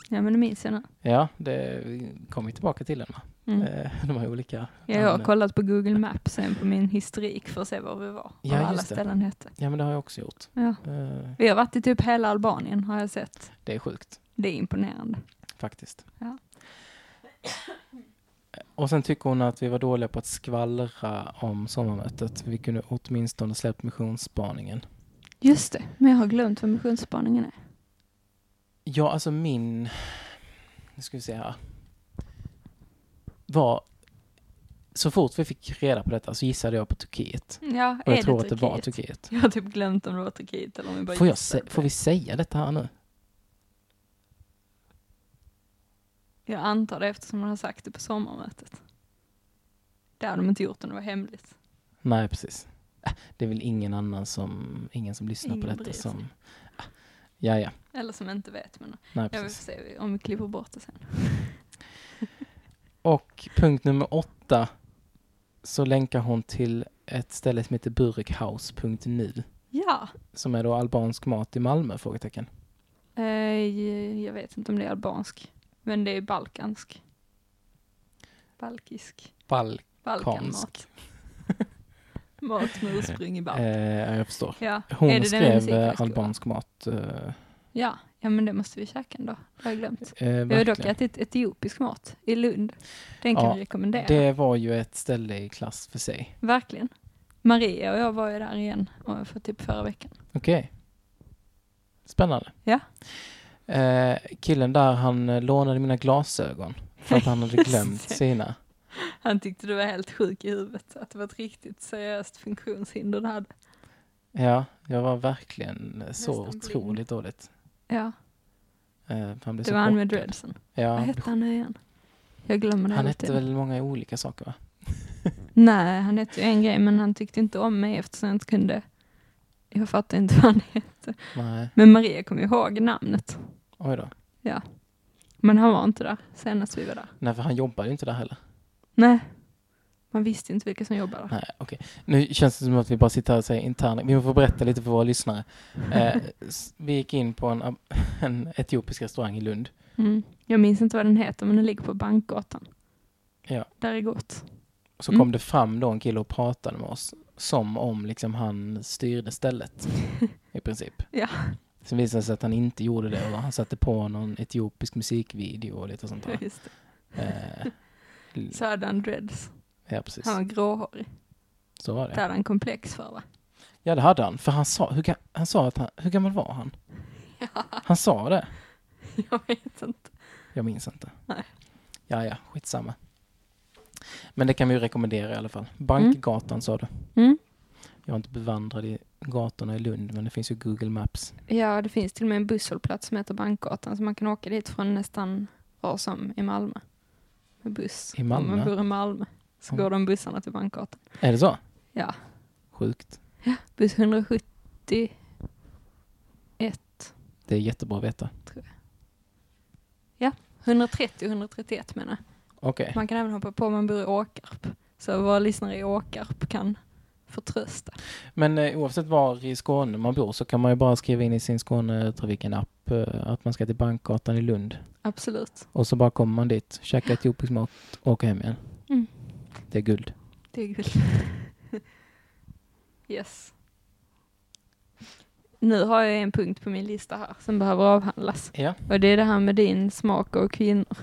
Speaker 2: Ja, men det minns jag nu.
Speaker 1: Ja, det kommer vi tillbaka till den va?
Speaker 2: Mm.
Speaker 1: Eh, de här olika.
Speaker 2: Ja, jag har
Speaker 1: namnen.
Speaker 2: kollat på Google Maps sen på min historik för att se var vi var.
Speaker 1: Ja,
Speaker 2: vad
Speaker 1: just
Speaker 2: alla
Speaker 1: det.
Speaker 2: ställen hette.
Speaker 1: Ja, men det har jag också gjort.
Speaker 2: Ja.
Speaker 1: Eh,
Speaker 2: Vi har varit i typ hela Albanien har jag sett.
Speaker 1: det är sjukt,
Speaker 2: Det är imponerande.
Speaker 1: faktiskt. Eh,
Speaker 2: Ja.
Speaker 1: Och sen tycker hon att vi var dåliga på att skvallra om sommarmötet. Vi kunde åtminstone släppt missionsspaningen.
Speaker 2: Just det, men jag har glömt vad missionsspaningen är.
Speaker 1: Ja, alltså min... Nu ska vi se här. Var... Så fort vi fick reda på detta så gissade jag på Turkiet.
Speaker 2: Ja,
Speaker 1: Och
Speaker 2: är
Speaker 1: jag tror att det var
Speaker 2: Turkiet?
Speaker 1: Turkiet.
Speaker 2: Jag har typ glömt om det var Turkiet eller om vi bara
Speaker 1: Får, jag
Speaker 2: gissade
Speaker 1: sä-
Speaker 2: på
Speaker 1: får
Speaker 2: det.
Speaker 1: vi säga detta här nu?
Speaker 2: Jag antar det eftersom man har sagt det på sommarmötet. Det hade de inte gjort om det var hemligt.
Speaker 1: Nej, precis. Äh, Det är väl ingen annan som, ingen som lyssnar på
Speaker 2: Ingen bryr
Speaker 1: detta
Speaker 2: sig.
Speaker 1: som... Äh, Ja, ja.
Speaker 2: Eller som inte vet, men
Speaker 1: Nej,
Speaker 2: jag vill
Speaker 1: precis.
Speaker 2: se om vi klipper bort det sen.
Speaker 1: Och punkt nummer åtta så länkar hon till ett ställe som heter burikhouse.nu
Speaker 2: Ja,
Speaker 1: som är då albansk mat i Malmö? Frågetecken.
Speaker 2: eh, jag vet inte om det är albansk, men det är balkansk. Balkisk.
Speaker 1: Balk.
Speaker 2: Balkanmat. Mat med ursprung i Balkan.
Speaker 1: Eh, jag förstår.
Speaker 2: Ja,
Speaker 1: Hon
Speaker 2: är det den
Speaker 1: skrev eh,
Speaker 2: musikhögskolan?
Speaker 1: albansk mat. Eh,
Speaker 2: Ja, ja, men det måste vi käka en dag. Det har jag glömt.
Speaker 1: eh,
Speaker 2: Jag har dock
Speaker 1: verkligen.
Speaker 2: ätit etiopisk mat i Lund. Den kan
Speaker 1: Ja,
Speaker 2: vi rekommendera.
Speaker 1: det var ju ett ställe i klass för sig.
Speaker 2: Verkligen. Maria och jag var ju där igen och för typ förra veckan.
Speaker 1: Okej. Spännande.
Speaker 2: Ja.
Speaker 1: Eh, killen där, han eh, lånade mina glasögon för att han hade glömt sina.
Speaker 2: Han tyckte du var helt sjuk i huvudet, att det var ett riktigt seriöst funktionshinder du hade.
Speaker 1: Ja, jag var verkligen eh, så
Speaker 2: Nästan blind.
Speaker 1: otroligt dåligt.
Speaker 2: Ja,
Speaker 1: Eh, han blev
Speaker 2: det
Speaker 1: så
Speaker 2: var han med
Speaker 1: chockad.
Speaker 2: dreadsen.
Speaker 1: Ja,
Speaker 2: Vad
Speaker 1: han,
Speaker 2: hette han nu igen? Jag glömmer det
Speaker 1: han
Speaker 2: alltid.
Speaker 1: hette väl många olika saker va?
Speaker 2: Nej, han hette ju en grej, men han tyckte inte om mig eftersom jag inte kunde... Jag fattar inte vad han hette.
Speaker 1: Nej,
Speaker 2: Men Maria kom ju ihåg namnet.
Speaker 1: oj då.
Speaker 2: Men han var inte där senast vi var där.
Speaker 1: Nej, för han jobbade ju inte där heller.
Speaker 2: Nej, man visste inte vilka som jobbade där.
Speaker 1: Nej, okej. Nu känns det som att vi bara sitter här och säger interna. Vi får berätta lite för våra lyssnare. Eh, s- vi gick in på en, en etiopisk restaurang i Lund.
Speaker 2: Mm. Jag minns inte vad den heter, men den ligger på Bankgatan.
Speaker 1: Ja.
Speaker 2: Där är gott.
Speaker 1: Så
Speaker 2: Mm.
Speaker 1: kom det fram då en kille och pratade med oss. Som om liksom han styrde stället. I princip.
Speaker 2: Ja.
Speaker 1: Sen visade det sig att han inte gjorde det. Och han satte på någon etiopisk musikvideo och lite sånt där.
Speaker 2: Just det.
Speaker 1: Eh, l-
Speaker 2: Så hade han dreads.
Speaker 1: ja, precis.
Speaker 2: Han var gråhårig.
Speaker 1: Så var det.
Speaker 2: Det hade han komplex för va?
Speaker 1: Ja, det hade han. För han sa, hur, ga- han sa att han, hur gammal var han? Han sa det.
Speaker 2: Jag vet inte.
Speaker 1: Jag minns inte.
Speaker 2: Nej.
Speaker 1: Ja, ja, skitsamma. Men det kan vi ju rekommendera i alla fall. Bankgatan sa du.
Speaker 2: Mm.
Speaker 1: Jag är inte bevandrad i gatorna i Lund, men det finns ju Google Maps.
Speaker 2: Ja, det finns till och med en busshållplats som heter Bankgatan så man kan åka dit från nästan var som i Malmö. Med buss.
Speaker 1: I Malmö?
Speaker 2: Om man bor i Malmö så
Speaker 1: Mm.
Speaker 2: går de bussarna till Bankgatan.
Speaker 1: Är det så?
Speaker 2: Ja.
Speaker 1: Sjukt.
Speaker 2: Buss 171
Speaker 1: Det är jättebra att veta.
Speaker 2: 130 131 menar jag.
Speaker 1: Okej.
Speaker 2: Man kan även hoppa på om man bor i Åkarp. Så våra lyssnare i Åkarp kan förtrösta.
Speaker 1: Men eh, oavsett var i Skåne man bor så kan man ju bara skriva in i sin Skånetrafiken-app eh, att man ska till Bankgatan i Lund.
Speaker 2: Absolut,
Speaker 1: Och så bara kommer man dit, käkar etiopisk mat och åker hem igen.
Speaker 2: Mm.
Speaker 1: Det är guld.
Speaker 2: det är kul. yes. Nu har jag en punkt på min lista här som behöver avhandlas.
Speaker 1: Ja.
Speaker 2: Och det är det här med din smak och kvinnor.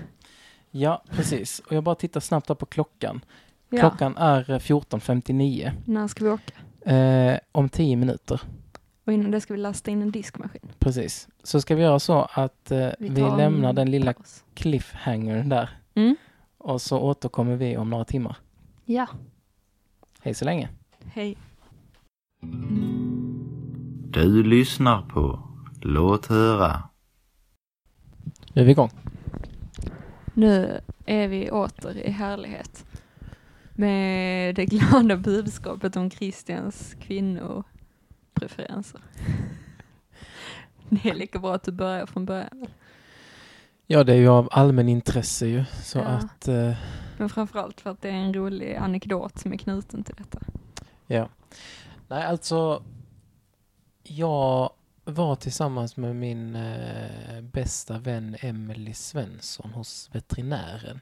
Speaker 1: Ja, precis. Och jag bara tittar snabbt här på klockan.
Speaker 2: Ja,
Speaker 1: Klockan är eh, 14.59
Speaker 2: när ska vi åka?
Speaker 1: eh, om 10 minuter.
Speaker 2: Och innan det ska vi lasta in en diskmaskin.
Speaker 1: Precis. Så ska vi göra så att eh, vi,
Speaker 2: tar en
Speaker 1: lämnar den lilla
Speaker 2: paus.
Speaker 1: cliffhangern där
Speaker 2: Mm.
Speaker 1: Och så återkommer vi om några timmar.
Speaker 2: Ja.
Speaker 1: Hej så länge.
Speaker 2: Hej.
Speaker 3: Du lyssnar på Låt höra.
Speaker 1: Nu är vi igång.
Speaker 2: Nu är vi åter i härlighet. Med det glada budskapet om Christians kvinnopreferenser. Det är lika bra att du börjar från början.
Speaker 1: Ja, det är ju av allmän intresse ju. Så
Speaker 2: Ja.
Speaker 1: att, eh,
Speaker 2: Men framförallt för att det är en rolig anekdot som är knuten till detta.
Speaker 1: ja. Nej, alltså. Jag var tillsammans med min eh, bästa vän Emily Svensson hos veterinären.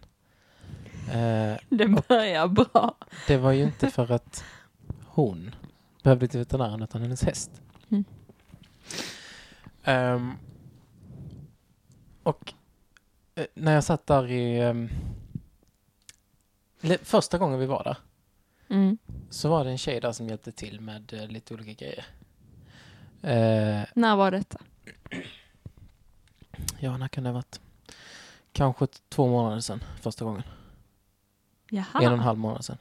Speaker 1: Eh,
Speaker 2: Den börjar bra.
Speaker 1: det var ju inte för att hon behövde till veterinären utan hennes häst.
Speaker 2: Mm.
Speaker 1: Ehm, och eh, när jag satt där i... ehm, le- första gången vi var där
Speaker 2: Mm.
Speaker 1: så var det en tjej där som hjälpte till med eh, lite olika grejer. Eh,
Speaker 2: När var detta?
Speaker 1: ja, när kan det ha varit? Kanske t- två månader sedan första gången.
Speaker 2: Jaha.
Speaker 1: En och en halv månad sedan.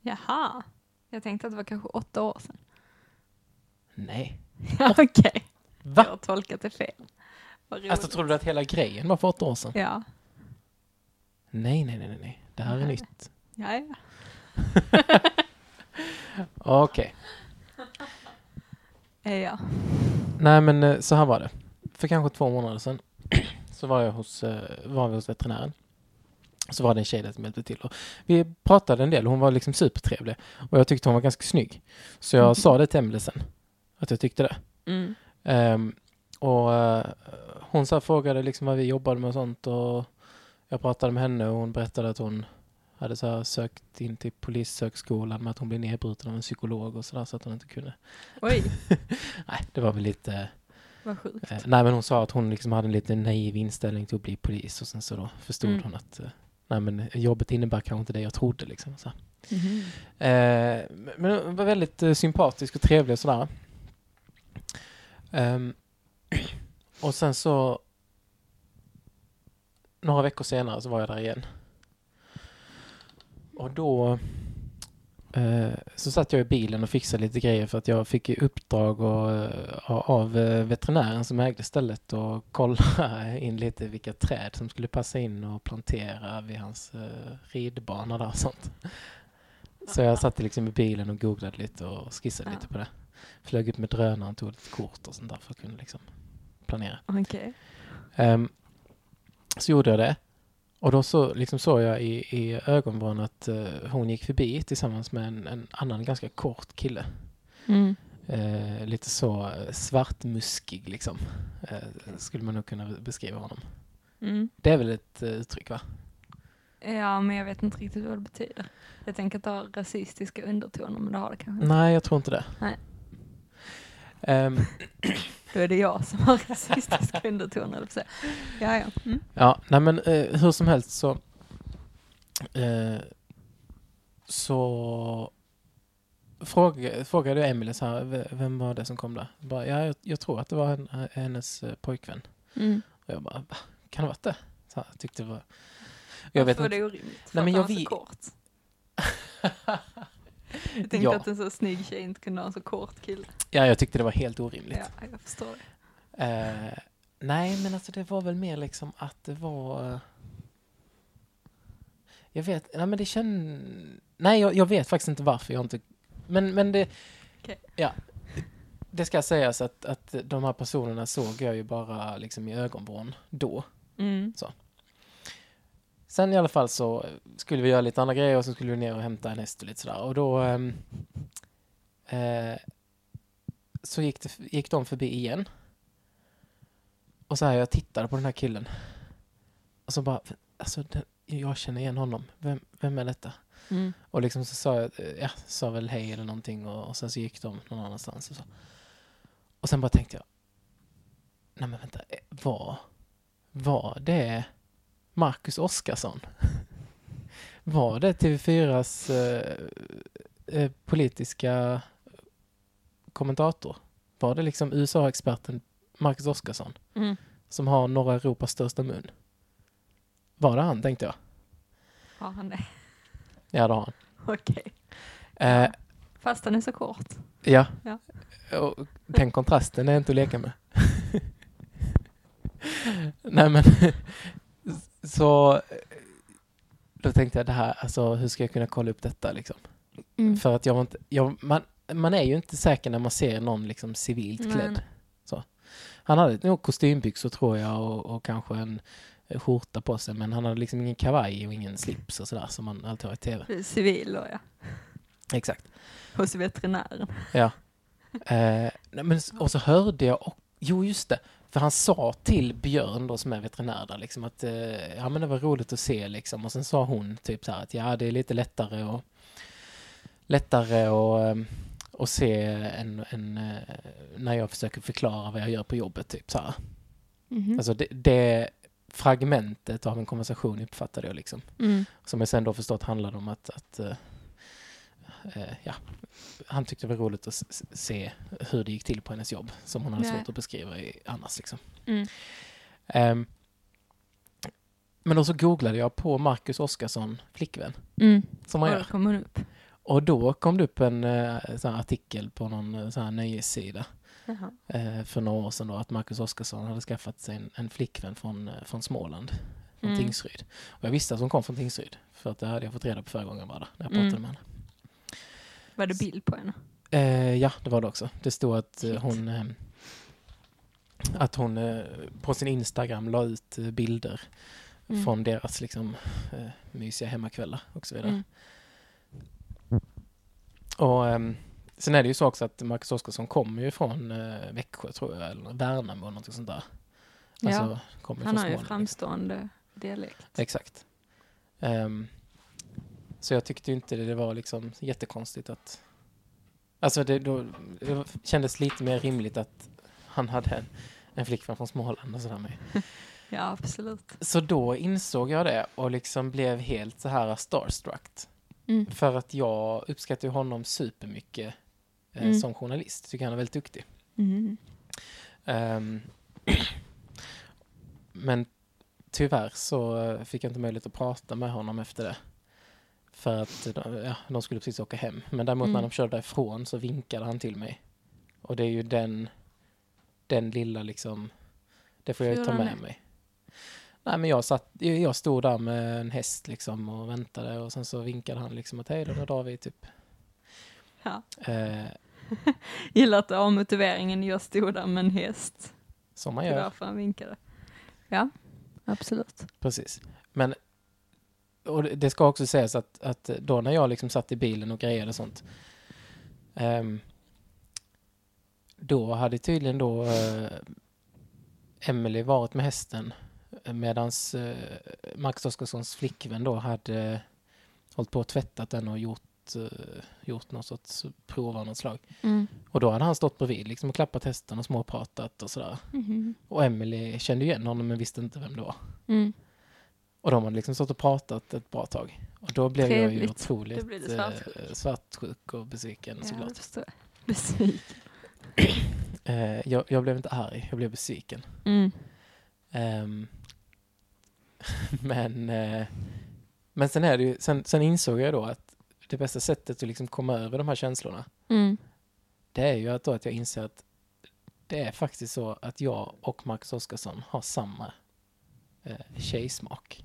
Speaker 2: Jaha. Jag tänkte att det var kanske åtta år sedan.
Speaker 1: Nej.
Speaker 2: Ja, Okej, jag
Speaker 1: Va?
Speaker 2: har tolkat det fel. Vad roligt.
Speaker 1: Alltså trodde du att hela grejen var för åtta år sedan?
Speaker 2: Ja.
Speaker 1: Nej, nej, nej, nej, nej. Det här är
Speaker 2: Nej.
Speaker 1: nytt.
Speaker 2: Ja, ja.
Speaker 1: Okej.
Speaker 2: Eh, ja.
Speaker 1: Nej, men eh, så här var det. För kanske två månader sedan så var, jag hos, eh, var vi hos veterinären. Så var det en tjej där som hjälpte till. Och vi pratade en del. Hon var liksom supertrevlig. Och jag tyckte hon var ganska snygg. Så jag
Speaker 2: Mhm.
Speaker 1: sa det till Emelie sen. Att jag tyckte det.
Speaker 2: Mm.
Speaker 1: Ehm, och eh, hon så här frågade liksom vad vi jobbade med och sånt. Och jag pratade med henne och hon berättade att hon hade så här sökt in till polishögskolan med att hon blev nedbruten av en psykolog och sådär så att hon inte kunde.
Speaker 2: Oj,
Speaker 1: Nej, det var väl lite...
Speaker 2: vad sjukt.
Speaker 1: Eh, nej men hon sa att hon liksom hade en lite naiv inställning till att bli polis och sen så då förstod
Speaker 2: Mm.
Speaker 1: hon att eh, nej men jobbet innebär kanske inte det jag trodde liksom. Så.
Speaker 2: Mhm.
Speaker 1: Eh, men hon var väldigt eh, sympatisk och trevlig och sådär. Ehm, och sen så några veckor senare så var jag där igen. Och då eh, så satt jag i bilen och fixade lite grejer för att jag fick i uppdrag och, eh, av eh, veterinären som ägde stället och kolla in lite vilka träd som skulle passa in och plantera vid hans eh, ridbana där och sånt. Så jag satt liksom i bilen och googlade lite och skissade
Speaker 2: Ja.
Speaker 1: lite på det. Flög upp med drönaren, tog lite kort och sånt där för att kunna liksom planera.
Speaker 2: Okej.
Speaker 1: Ehm, så gjorde jag det. Och då så liksom såg jag i, i ögonvrån att eh, hon gick förbi tillsammans med en, en annan ganska kort kille.
Speaker 2: Mm.
Speaker 1: Eh, lite så eh, svartmuskig liksom. Eh, skulle man nog kunna beskriva honom.
Speaker 2: Mm.
Speaker 1: Det är väl ett eh, uttryck va?
Speaker 2: Ja, men jag vet inte riktigt vad det betyder. Jag tänker att det har rasistiska undertoner, men det har det kanske inte.
Speaker 1: Nej, jag tror inte det.
Speaker 2: Mm. Nej.
Speaker 1: Ehm,
Speaker 2: Då är det jag som har rasistiska undertoner, eller så. Ja, ja. Mm.
Speaker 1: Ja, nej men eh, hur som helst så eh, så fråga, frågade jag Emelie så här, "V- vem var det som kom där? Bara, ja, jag, jag tror att det var hen- hennes eh, pojkvän.
Speaker 2: Mm.
Speaker 1: Och jag bara, va? Kan det ha varit det? Så här, jag tyckte det var... Jag vet
Speaker 2: Varför
Speaker 1: inte.
Speaker 2: är det orimligt?
Speaker 1: Nej, men jag
Speaker 2: För att
Speaker 1: vet-
Speaker 2: han har så kort. Jag tänkte
Speaker 1: Ja.
Speaker 2: att en så snygg tjej inte kunde ha en så kort kille.
Speaker 1: Ja, jag tyckte det var helt orimligt.
Speaker 2: Ja, jag förstår det.
Speaker 1: Eh, nej, men alltså det var väl mer liksom att det var... eh, Jag vet, nej men det känns... Nej, jag, jag vet faktiskt inte varför jag inte... Men, men det...
Speaker 2: Okej.
Speaker 1: Ja. Det ska sägas att, att de här personerna såg jag ju bara liksom i ögonvrån då.
Speaker 2: Mm.
Speaker 1: Sen i alla fall så skulle vi göra lite andra grejer och så skulle vi ner och hämta en häst och lite sådär. Och då... ehm, eh, så gick, det, gick de förbi igen. Och så här, jag tittade på den här killen. Och så bara, alltså den, jag känner igen honom. Vem, vem är detta?
Speaker 2: Mm.
Speaker 1: Och liksom så sa jag, ja, sa väl hej eller någonting och, och sen så gick de någon annanstans och så. Och sen bara tänkte jag, nej men vänta, eh, var, var det Marcus Oskarsson? Var det TV4s eh, eh, politiska kommentator? Var det liksom USA-experten Marcus Oskarsson
Speaker 2: Mm.
Speaker 1: som har norra Europas största mun? Var det han, tänkte jag.
Speaker 2: Har han det?
Speaker 1: Ja, det har han.
Speaker 2: Okej.
Speaker 1: Eh,
Speaker 2: Fast den är så kort.
Speaker 1: ja.
Speaker 2: Ja.
Speaker 1: Och den kontrasten är inte att leka med. Nej, men så då tänkte jag det här, alltså hur ska jag kunna kolla upp detta liksom?
Speaker 2: Mm.
Speaker 1: För att jag var inte, jag, man, man är ju inte säker när man ser någon liksom civilt
Speaker 2: Nej.
Speaker 1: klädd. Så. Han hade nog kostymbyxor tror jag och, och kanske en eh, skjorta på sig men han hade liksom ingen kavaj och ingen slips och sådär som man alltid har i tv.
Speaker 2: Du är Civil då ja.
Speaker 1: Exakt.
Speaker 2: Hos veterinären.
Speaker 1: Eh, nej, men, s- och så hörde jag, och, jo just det, för han sa till Björn då som är veterinär där liksom att eh, ja men det var roligt att se liksom och sen sa hon typ så här att ja det är lite lättare och lättare och, eh, och se en, en, eh, när jag försöker förklara vad jag gör på jobbet typ så här.
Speaker 2: Mhm.
Speaker 1: Alltså det, det fragmentet av en konversation uppfattade jag liksom.
Speaker 2: Mm.
Speaker 1: Som jag sen då förstått handlade om att, att eh, eh, ja, han tyckte det var roligt att s- s- se hur det gick till på hennes jobb, som hon hade
Speaker 2: Nej.
Speaker 1: svårt att beskriva i, annars. Liksom.
Speaker 2: Mm.
Speaker 1: Ehm, men då så googlade jag på Marcus Oskarsson, flickvän,
Speaker 2: Mm.
Speaker 1: som
Speaker 2: Och
Speaker 1: man
Speaker 2: då
Speaker 1: gör.
Speaker 2: kom hon upp.
Speaker 1: Och då kom det upp en eh, sån här artikel på någon eh, sån här nöjessida eh, för några år sedan då, att Marcus Oskarsson hade skaffat sig en, en flickvän från, eh, från Småland, från
Speaker 2: Mm.
Speaker 1: Tingsryd. Och jag visste att hon kom från Tingsryd, för att det hade jag fått reda på förra gången bara, när jag
Speaker 2: Mm.
Speaker 1: pratade med henne.
Speaker 2: Var det bild på henne?
Speaker 1: Eh, ja, det var det också. Det stod att eh,
Speaker 2: Shit.
Speaker 1: hon eh, att hon eh, på sin Instagram la ut eh, bilder
Speaker 2: Mm.
Speaker 1: från deras liksom eh, mysiga hemmakvällar och så vidare.
Speaker 2: Mm.
Speaker 1: Och ehm, sen är det ju så också att Marcus Oskarsson kommer ju från eh, Växjö tror jag, eller Värnamo och något sånt där. Alltså,
Speaker 2: Ja.
Speaker 1: kommer
Speaker 2: Han
Speaker 1: från
Speaker 2: har ju
Speaker 1: Småland,
Speaker 2: framstående dialekt.
Speaker 1: Exakt. Ehm, så jag tyckte ju inte det, det var liksom jättekonstigt att... Alltså det, då, det kändes lite mer rimligt att han hade en, en flickvän från Småland och sådär med.
Speaker 2: Ja, absolut.
Speaker 1: Så då insåg jag det och liksom blev helt så här starstruck.
Speaker 2: Mm.
Speaker 1: För att jag uppskattar ju honom supermycket eh,
Speaker 2: Mm.
Speaker 1: som journalist. Tycker han är väldigt duktig.
Speaker 2: Mm.
Speaker 1: Ehm, men tyvärr så eh, fick jag inte möjlighet att prata med honom efter det. För att eh, de- ja, de skulle precis åka hem. Men däremot
Speaker 2: Mm.
Speaker 1: när de körde därifrån så vinkade han till mig. Och det är ju den, den lilla liksom, det får jag ju
Speaker 2: Hur
Speaker 1: ta
Speaker 2: gjorde
Speaker 1: med
Speaker 2: han det?
Speaker 1: mig. Nej men jag, satt, jag jag stod där med en häst liksom och väntade och sen så vinkade han liksom att hej då, då drar vi typ.
Speaker 2: Ja.
Speaker 1: Eh,
Speaker 2: Gillar att avmotiveringen, jag stod där med en häst.
Speaker 1: som man
Speaker 2: Det var
Speaker 1: gör.
Speaker 2: därför han vinkade. Ja, absolut.
Speaker 1: Precis. Men och det- det ska också sägas att, att då när jag liksom satt i bilen och grejade och sånt. ehm, då hade tydligen då eh, Emily varit med hästen medan eh, Max Oskarssons flickvän då hade hållit på och tvättat den och gjort, eh, gjort något sorts prov av något slag.
Speaker 2: Mm.
Speaker 1: Och då hade han stått bredvid liksom och klappat hästen och småpratat och sådär.
Speaker 2: Mhm.
Speaker 1: Och Emily kände igen honom men visste inte vem det var.
Speaker 2: Mm.
Speaker 1: Och de hade liksom stått och pratat ett bra tag. Och då blev jag ju
Speaker 2: Trevligt.
Speaker 1: otroligt
Speaker 2: Då blev du
Speaker 1: eh,
Speaker 2: svartsjuk.
Speaker 1: svartsjuk och besviken
Speaker 2: Ja, det
Speaker 1: såklart.
Speaker 2: förstår jag. Besviken.
Speaker 1: Eh, jag, jag blev inte arg, jag blev besviken.
Speaker 2: Mm.
Speaker 1: Ehm, men eh, men sen, är det ju, sen, sen insåg jag då att det bästa sättet att liksom komma över de här känslorna
Speaker 2: Mm.
Speaker 1: det är ju att, då att jag inser att det är faktiskt så att jag och Marcus Oskarsson har samma eh, tjejsmak.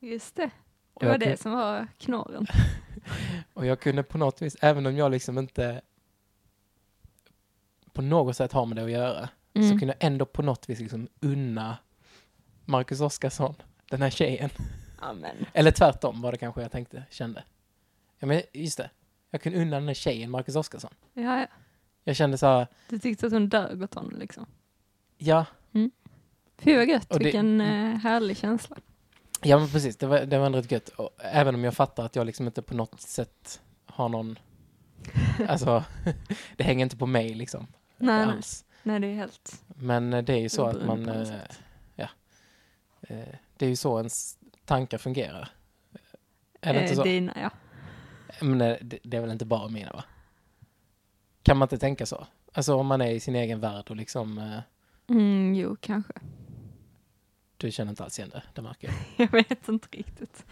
Speaker 2: Just det.
Speaker 1: Och
Speaker 2: Det
Speaker 1: jag
Speaker 2: var
Speaker 1: kan-
Speaker 2: det som var knorren.
Speaker 1: Och jag kunde på något vis, även om jag liksom inte på något sätt har med det att göra, så
Speaker 2: Mm.
Speaker 1: kunde jag ändå på något vis liksom unna Marcus Oskarsson, den här tjejen.
Speaker 2: Amen.
Speaker 1: Eller tvärtom var det kanske jag tänkte, kände. Ja men just det, jag kunde unna den här tjejen Marcus Oskarsson.
Speaker 2: Ja, ja.
Speaker 1: Jag kände så här,
Speaker 2: Du tyckte att hon dög åt honom liksom.
Speaker 1: ja,
Speaker 2: Fy vad gött,
Speaker 1: Och det- mm.
Speaker 2: vilken eh, härlig känsla.
Speaker 1: ja men precis, det var, det var ändå rätt gött. Och även om jag fattar att jag liksom inte på något sätt har någon, alltså, det hänger inte på mig liksom.
Speaker 2: Nej, nej.
Speaker 1: alls.
Speaker 2: Nej, det är helt...
Speaker 1: Men eh, det är ju så att man...
Speaker 2: Oberoende på något
Speaker 1: eh, Ja, eh, det är ju så ens tankar fungerar. Är det
Speaker 2: eh,
Speaker 1: inte så?
Speaker 2: Dina, ja.
Speaker 1: Men eh, det, det är väl inte bara mina, va? Kan man inte tänka så? Alltså om man är i sin egen värld och liksom... eh,
Speaker 2: Mm, jo, kanske.
Speaker 1: Du känner inte alls igen det, det märker jag.
Speaker 2: Jag vet inte riktigt.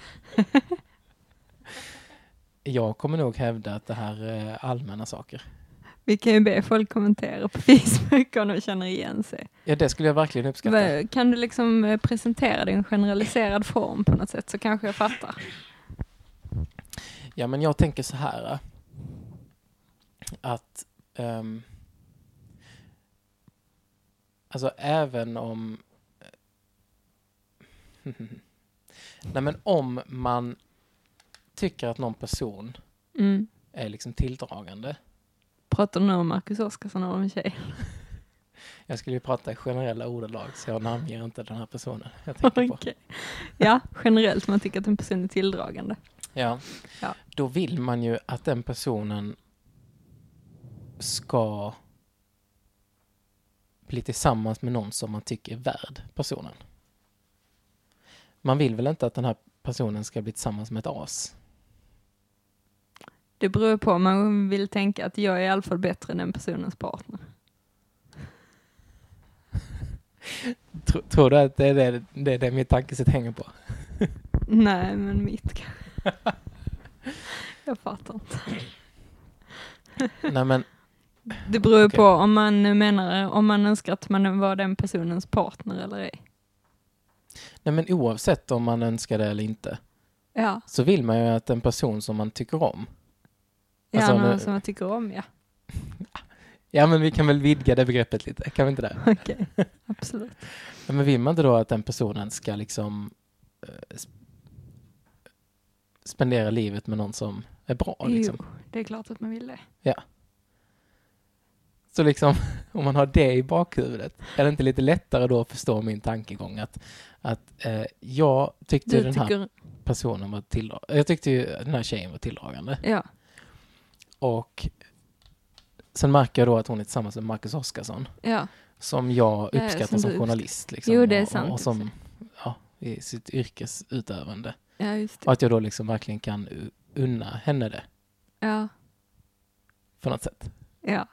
Speaker 1: Jag kommer nog hävda att det här eh, är allmänna saker.
Speaker 2: Vi kan ju be folk kommentera på Facebook om de känner igen sig.
Speaker 1: Ja, det skulle jag verkligen uppskatta.
Speaker 2: Vad- Kan du liksom eh, presentera din generaliserad form på något sätt så kanske jag fattar.
Speaker 1: Ja, men jag tänker så här. äh, Att... ehm, alltså, även om... eh, Nej, men om man tycker att någon person
Speaker 2: Mm.
Speaker 1: är liksom tilldragande.
Speaker 2: Pratar du nu om Marcus Oskarsson och om en tjej?
Speaker 1: Jag skulle ju prata i generella ordalag, så jag namnger inte den här personen jag tänker på.
Speaker 2: Okej. Ja, generellt man tycker att en person är tilldragande.
Speaker 1: Ja.
Speaker 2: Ja.
Speaker 1: Då vill man ju att den personen ska bli tillsammans med någon som man tycker är värd personen. Man vill väl inte att den här personen ska bli tillsammans med ett as?
Speaker 2: Det beror på om man vill tänka att jag är i alla fall bättre än den personens partner.
Speaker 1: Tro, tror du att det är det, det är det mitt tankesätt hänger på?
Speaker 2: Nej, men mitt kanske. Jag fattar inte.
Speaker 1: Nej men,
Speaker 2: Det beror ju
Speaker 1: Okej.
Speaker 2: på om man menar, om man önskar att man var den personens partner eller ej.
Speaker 1: nej men oavsett om man önskar det eller inte
Speaker 2: Ja,
Speaker 1: så vill man ju att en person som man tycker om.
Speaker 2: ja
Speaker 1: Alltså,
Speaker 2: någon
Speaker 1: nu-
Speaker 2: som jag tycker om, ja.
Speaker 1: Ja men vi kan väl vidga det begreppet lite, kan vi inte det?
Speaker 2: Okej, absolut.
Speaker 1: Ja, Men vill man inte då att den personen ska liksom eh, sp- spendera livet med någon som är bra? Liksom.
Speaker 2: Jo, det är klart att man vill det.
Speaker 1: Så liksom, om man har det i bakhuvudet, är det inte lite lättare då att förstå min tankegång att, att eh, jag tyckte
Speaker 2: Du
Speaker 1: ju den här
Speaker 2: tycker,
Speaker 1: personen var tilldragande, jag tyckte ju den här tjejen var tilldragande
Speaker 2: ja.
Speaker 1: och sen märker jag då att hon är tillsammans med Marcus Oskarsson
Speaker 2: ja.
Speaker 1: som jag
Speaker 2: Ja,
Speaker 1: uppskattar som,
Speaker 2: som du uppskattar.
Speaker 1: journalist. Liksom,
Speaker 2: Jo, det är
Speaker 1: och, Och,
Speaker 2: sant,
Speaker 1: och
Speaker 2: i och för
Speaker 1: som, ja, i sitt yrkesutövande.
Speaker 2: Ja, just
Speaker 1: Och
Speaker 2: det.
Speaker 1: att jag då liksom verkligen kan u- unna henne det
Speaker 2: Ja,
Speaker 1: på något sätt.
Speaker 2: ja.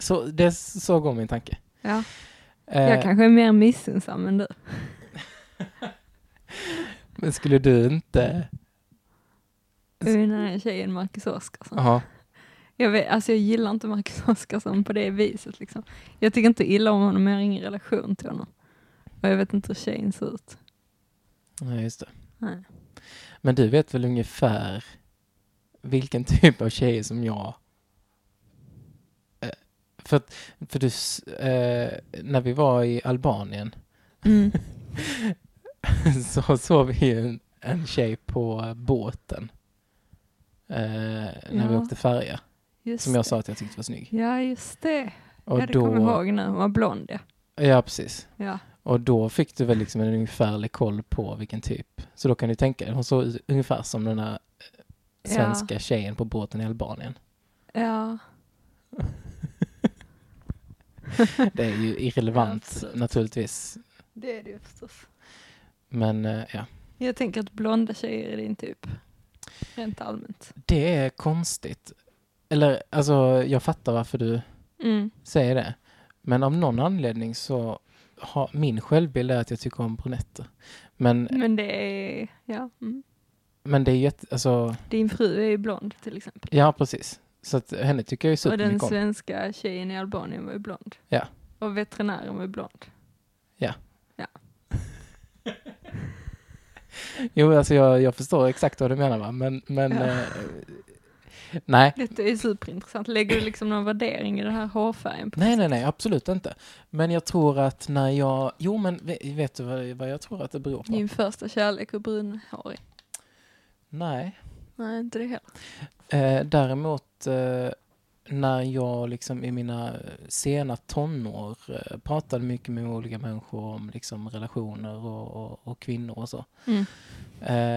Speaker 1: Så, det, så går min tanke.
Speaker 2: ja.
Speaker 1: Eh,
Speaker 2: Jag kanske är mer missunnsam än du.
Speaker 1: men skulle du inte...
Speaker 2: Den här tjejen Marcus Oskarsson.
Speaker 1: Jaha.
Speaker 2: Jag, vet, alltså jag gillar inte Marcus Oskarsson på det viset. Liksom. Jag tycker inte illa om honom, men jag har ingen relation till honom. Och jag vet inte hur tjejen ser ut.
Speaker 1: Nej, just det.
Speaker 2: Nej.
Speaker 1: Men du vet väl ungefär vilken typ av tjejer som jag... Eh, för, att- för du... s- Eh, när vi var i Albanien
Speaker 2: Mm.
Speaker 1: så såg vi ju en, en tjej på båten. Eh, när vi
Speaker 2: Ja.
Speaker 1: åkte färja.
Speaker 2: Just
Speaker 1: Som jag
Speaker 2: det.
Speaker 1: sa att jag tyckte var snygg.
Speaker 2: Ja, just det.
Speaker 1: Och
Speaker 2: ja, det kommer jag ihåg nu. Hon var blond, ja.
Speaker 1: Ja, precis.
Speaker 2: ja.
Speaker 1: Och då fick du väl liksom en ungefärlig koll på vilken typ. Så då kan du tänka dig, hon såg ut ungefär som den här eh, svenska tjejen på båten i Albanien.
Speaker 2: Ja,
Speaker 1: Det är ju irrelevant
Speaker 2: Absolut.
Speaker 1: naturligtvis.
Speaker 2: det är det ju förstås.
Speaker 1: Men eh, ja,
Speaker 2: Jag tänker att blonda tjejer är din typ. Rent allmänt.
Speaker 1: det är konstigt. Eller alltså, jag fattar varför du
Speaker 2: Mm.
Speaker 1: säger det. Men av någon anledning så har min självbild är att jag tycker om brunetter. Men,
Speaker 2: Men det är, ja. Mm.
Speaker 1: men det är jätte, alltså,
Speaker 2: Din fru är ju blond till exempel.
Speaker 1: ja precis. Så att henne tycker jag ju
Speaker 2: Och den
Speaker 1: supermycket om.
Speaker 2: svenska tjejen i Albanien var ju blond.
Speaker 1: Ja.
Speaker 2: Och veterinären var ju blond.
Speaker 1: Jo, alltså jag, jag förstår exakt vad du menar va, men, men
Speaker 2: Ja.
Speaker 1: eh, nej.
Speaker 2: Detta är superintressant. Lägger du liksom någon värdering i den här hårfärgen? På
Speaker 1: Nej, nej, nej, absolut inte. Men jag tror att när jag, jo men ve- vet du vad, vad jag tror att det beror på?
Speaker 2: Din första kärlek och brunhårig?
Speaker 1: Nej.
Speaker 2: Nej, inte det heller.
Speaker 1: Eh, däremot eh, när jag liksom i mina sena tonår eh, pratade mycket med olika människor om liksom relationer och, och, och kvinnor och så.
Speaker 2: Mm.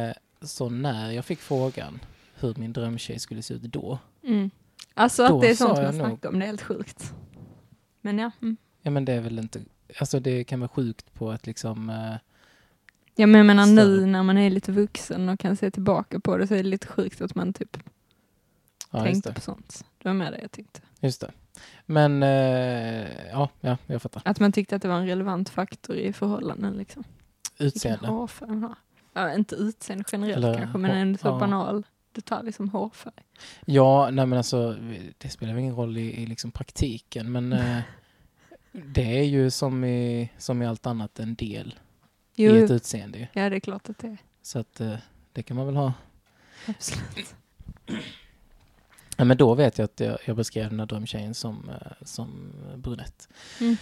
Speaker 1: Eh, så när jag fick frågan hur min drömtjej skulle se ut då,
Speaker 2: Mm. Alltså
Speaker 1: Då
Speaker 2: att det är
Speaker 1: sa
Speaker 2: sånt man
Speaker 1: jag nog-
Speaker 2: snackar om, det är helt sjukt. Men ja. Mm.
Speaker 1: ja men det är väl inte, alltså det kan vara sjukt på att liksom eh,
Speaker 2: Ja, men jag menar nu
Speaker 1: Större.
Speaker 2: när man är lite vuxen och kan se tillbaka på det så är det lite sjukt att man typ
Speaker 1: Ja, just
Speaker 2: tänkte
Speaker 1: det.
Speaker 2: på sånt. Det var med det jag tänkte.
Speaker 1: Just det. Men eh, ja, ja, jag fattar.
Speaker 2: Att man tyckte att det var en relevant faktor i förhållanden liksom. Vilken
Speaker 1: utseende.
Speaker 2: hårfärg han har. Ja, inte utseende generellt
Speaker 1: Eller
Speaker 2: kanske, men
Speaker 1: hår-
Speaker 2: en så
Speaker 1: ja.
Speaker 2: banal detalj som hårfärg.
Speaker 1: Ja, nej men alltså det spelar väl ingen roll i, i liksom praktiken men eh, det är ju som i, som i allt annat en del
Speaker 2: Jo,
Speaker 1: i ett utseende ju.
Speaker 2: ja det är klart att det är.
Speaker 1: Så att eh, det kan man väl ha.
Speaker 2: Absolut.
Speaker 1: Ja, men då vet jag att jag, jag beskrev den här drömtjejen som, eh, som brunett.
Speaker 2: Mm.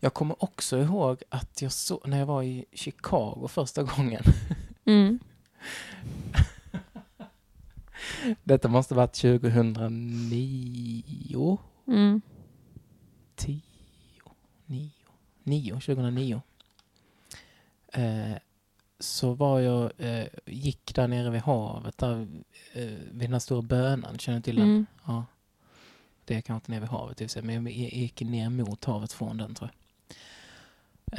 Speaker 1: Jag kommer också ihåg att jag såg, när jag var i Chicago första gången,
Speaker 2: Mm.
Speaker 1: detta måste varit 2009,
Speaker 2: Mm.
Speaker 1: 10, 9, 9, 2009. Eh, så var jag, eh, gick där nere vid havet, där, eh, vid den här stora bönan, känner du till den?
Speaker 2: Mm.
Speaker 1: Ja. Det är kanske inte ner vid havet i och för sig, men jag gick ner mot havet från den tror jag.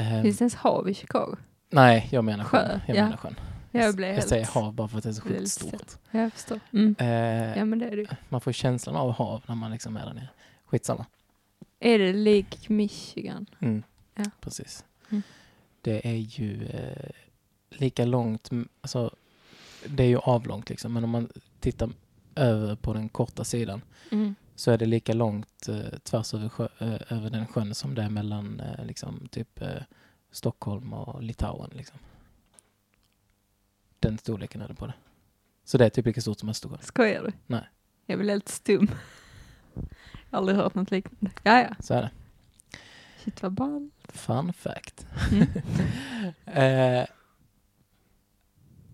Speaker 1: Ehm,
Speaker 2: Finns det ens hav i Chicago?
Speaker 1: nej, jag menar sjön.
Speaker 2: Sjö,
Speaker 1: jag
Speaker 2: ja.
Speaker 1: menar sjön.
Speaker 2: Jag blev
Speaker 1: jag
Speaker 2: helt...
Speaker 1: säger hav bara för att det är så
Speaker 2: blev
Speaker 1: sjukt
Speaker 2: lite
Speaker 1: stort.
Speaker 2: Ja, jag förstår. Mm.
Speaker 1: Eh,
Speaker 2: Ja, men det är det ju.
Speaker 1: Man får känslan av hav när man liksom är där nere. Skitsamma.
Speaker 2: Är det lik Michigan?
Speaker 1: Mm.
Speaker 2: Ja.
Speaker 1: Precis.
Speaker 2: Mm.
Speaker 1: Det är ju eh, lika långt, m- alltså det är ju avlångt liksom, men om man tittar över på den korta sidan
Speaker 2: Mm.
Speaker 1: så är det lika långt eh, tvärs över, sjö, eh, över den sjön som det är mellan eh, liksom, typ eh, Stockholm och Litauen. Liksom. Den storleken är det på det. Så det är typ lika stort som Östersjön.
Speaker 2: Skojar du?
Speaker 1: Nej.
Speaker 2: Jag blev helt stum. Jag har aldrig hört något liknande. Ja, ja.
Speaker 1: Så är det.
Speaker 2: Shit vad ball.
Speaker 1: Fun fact.
Speaker 2: Mm.
Speaker 1: eh,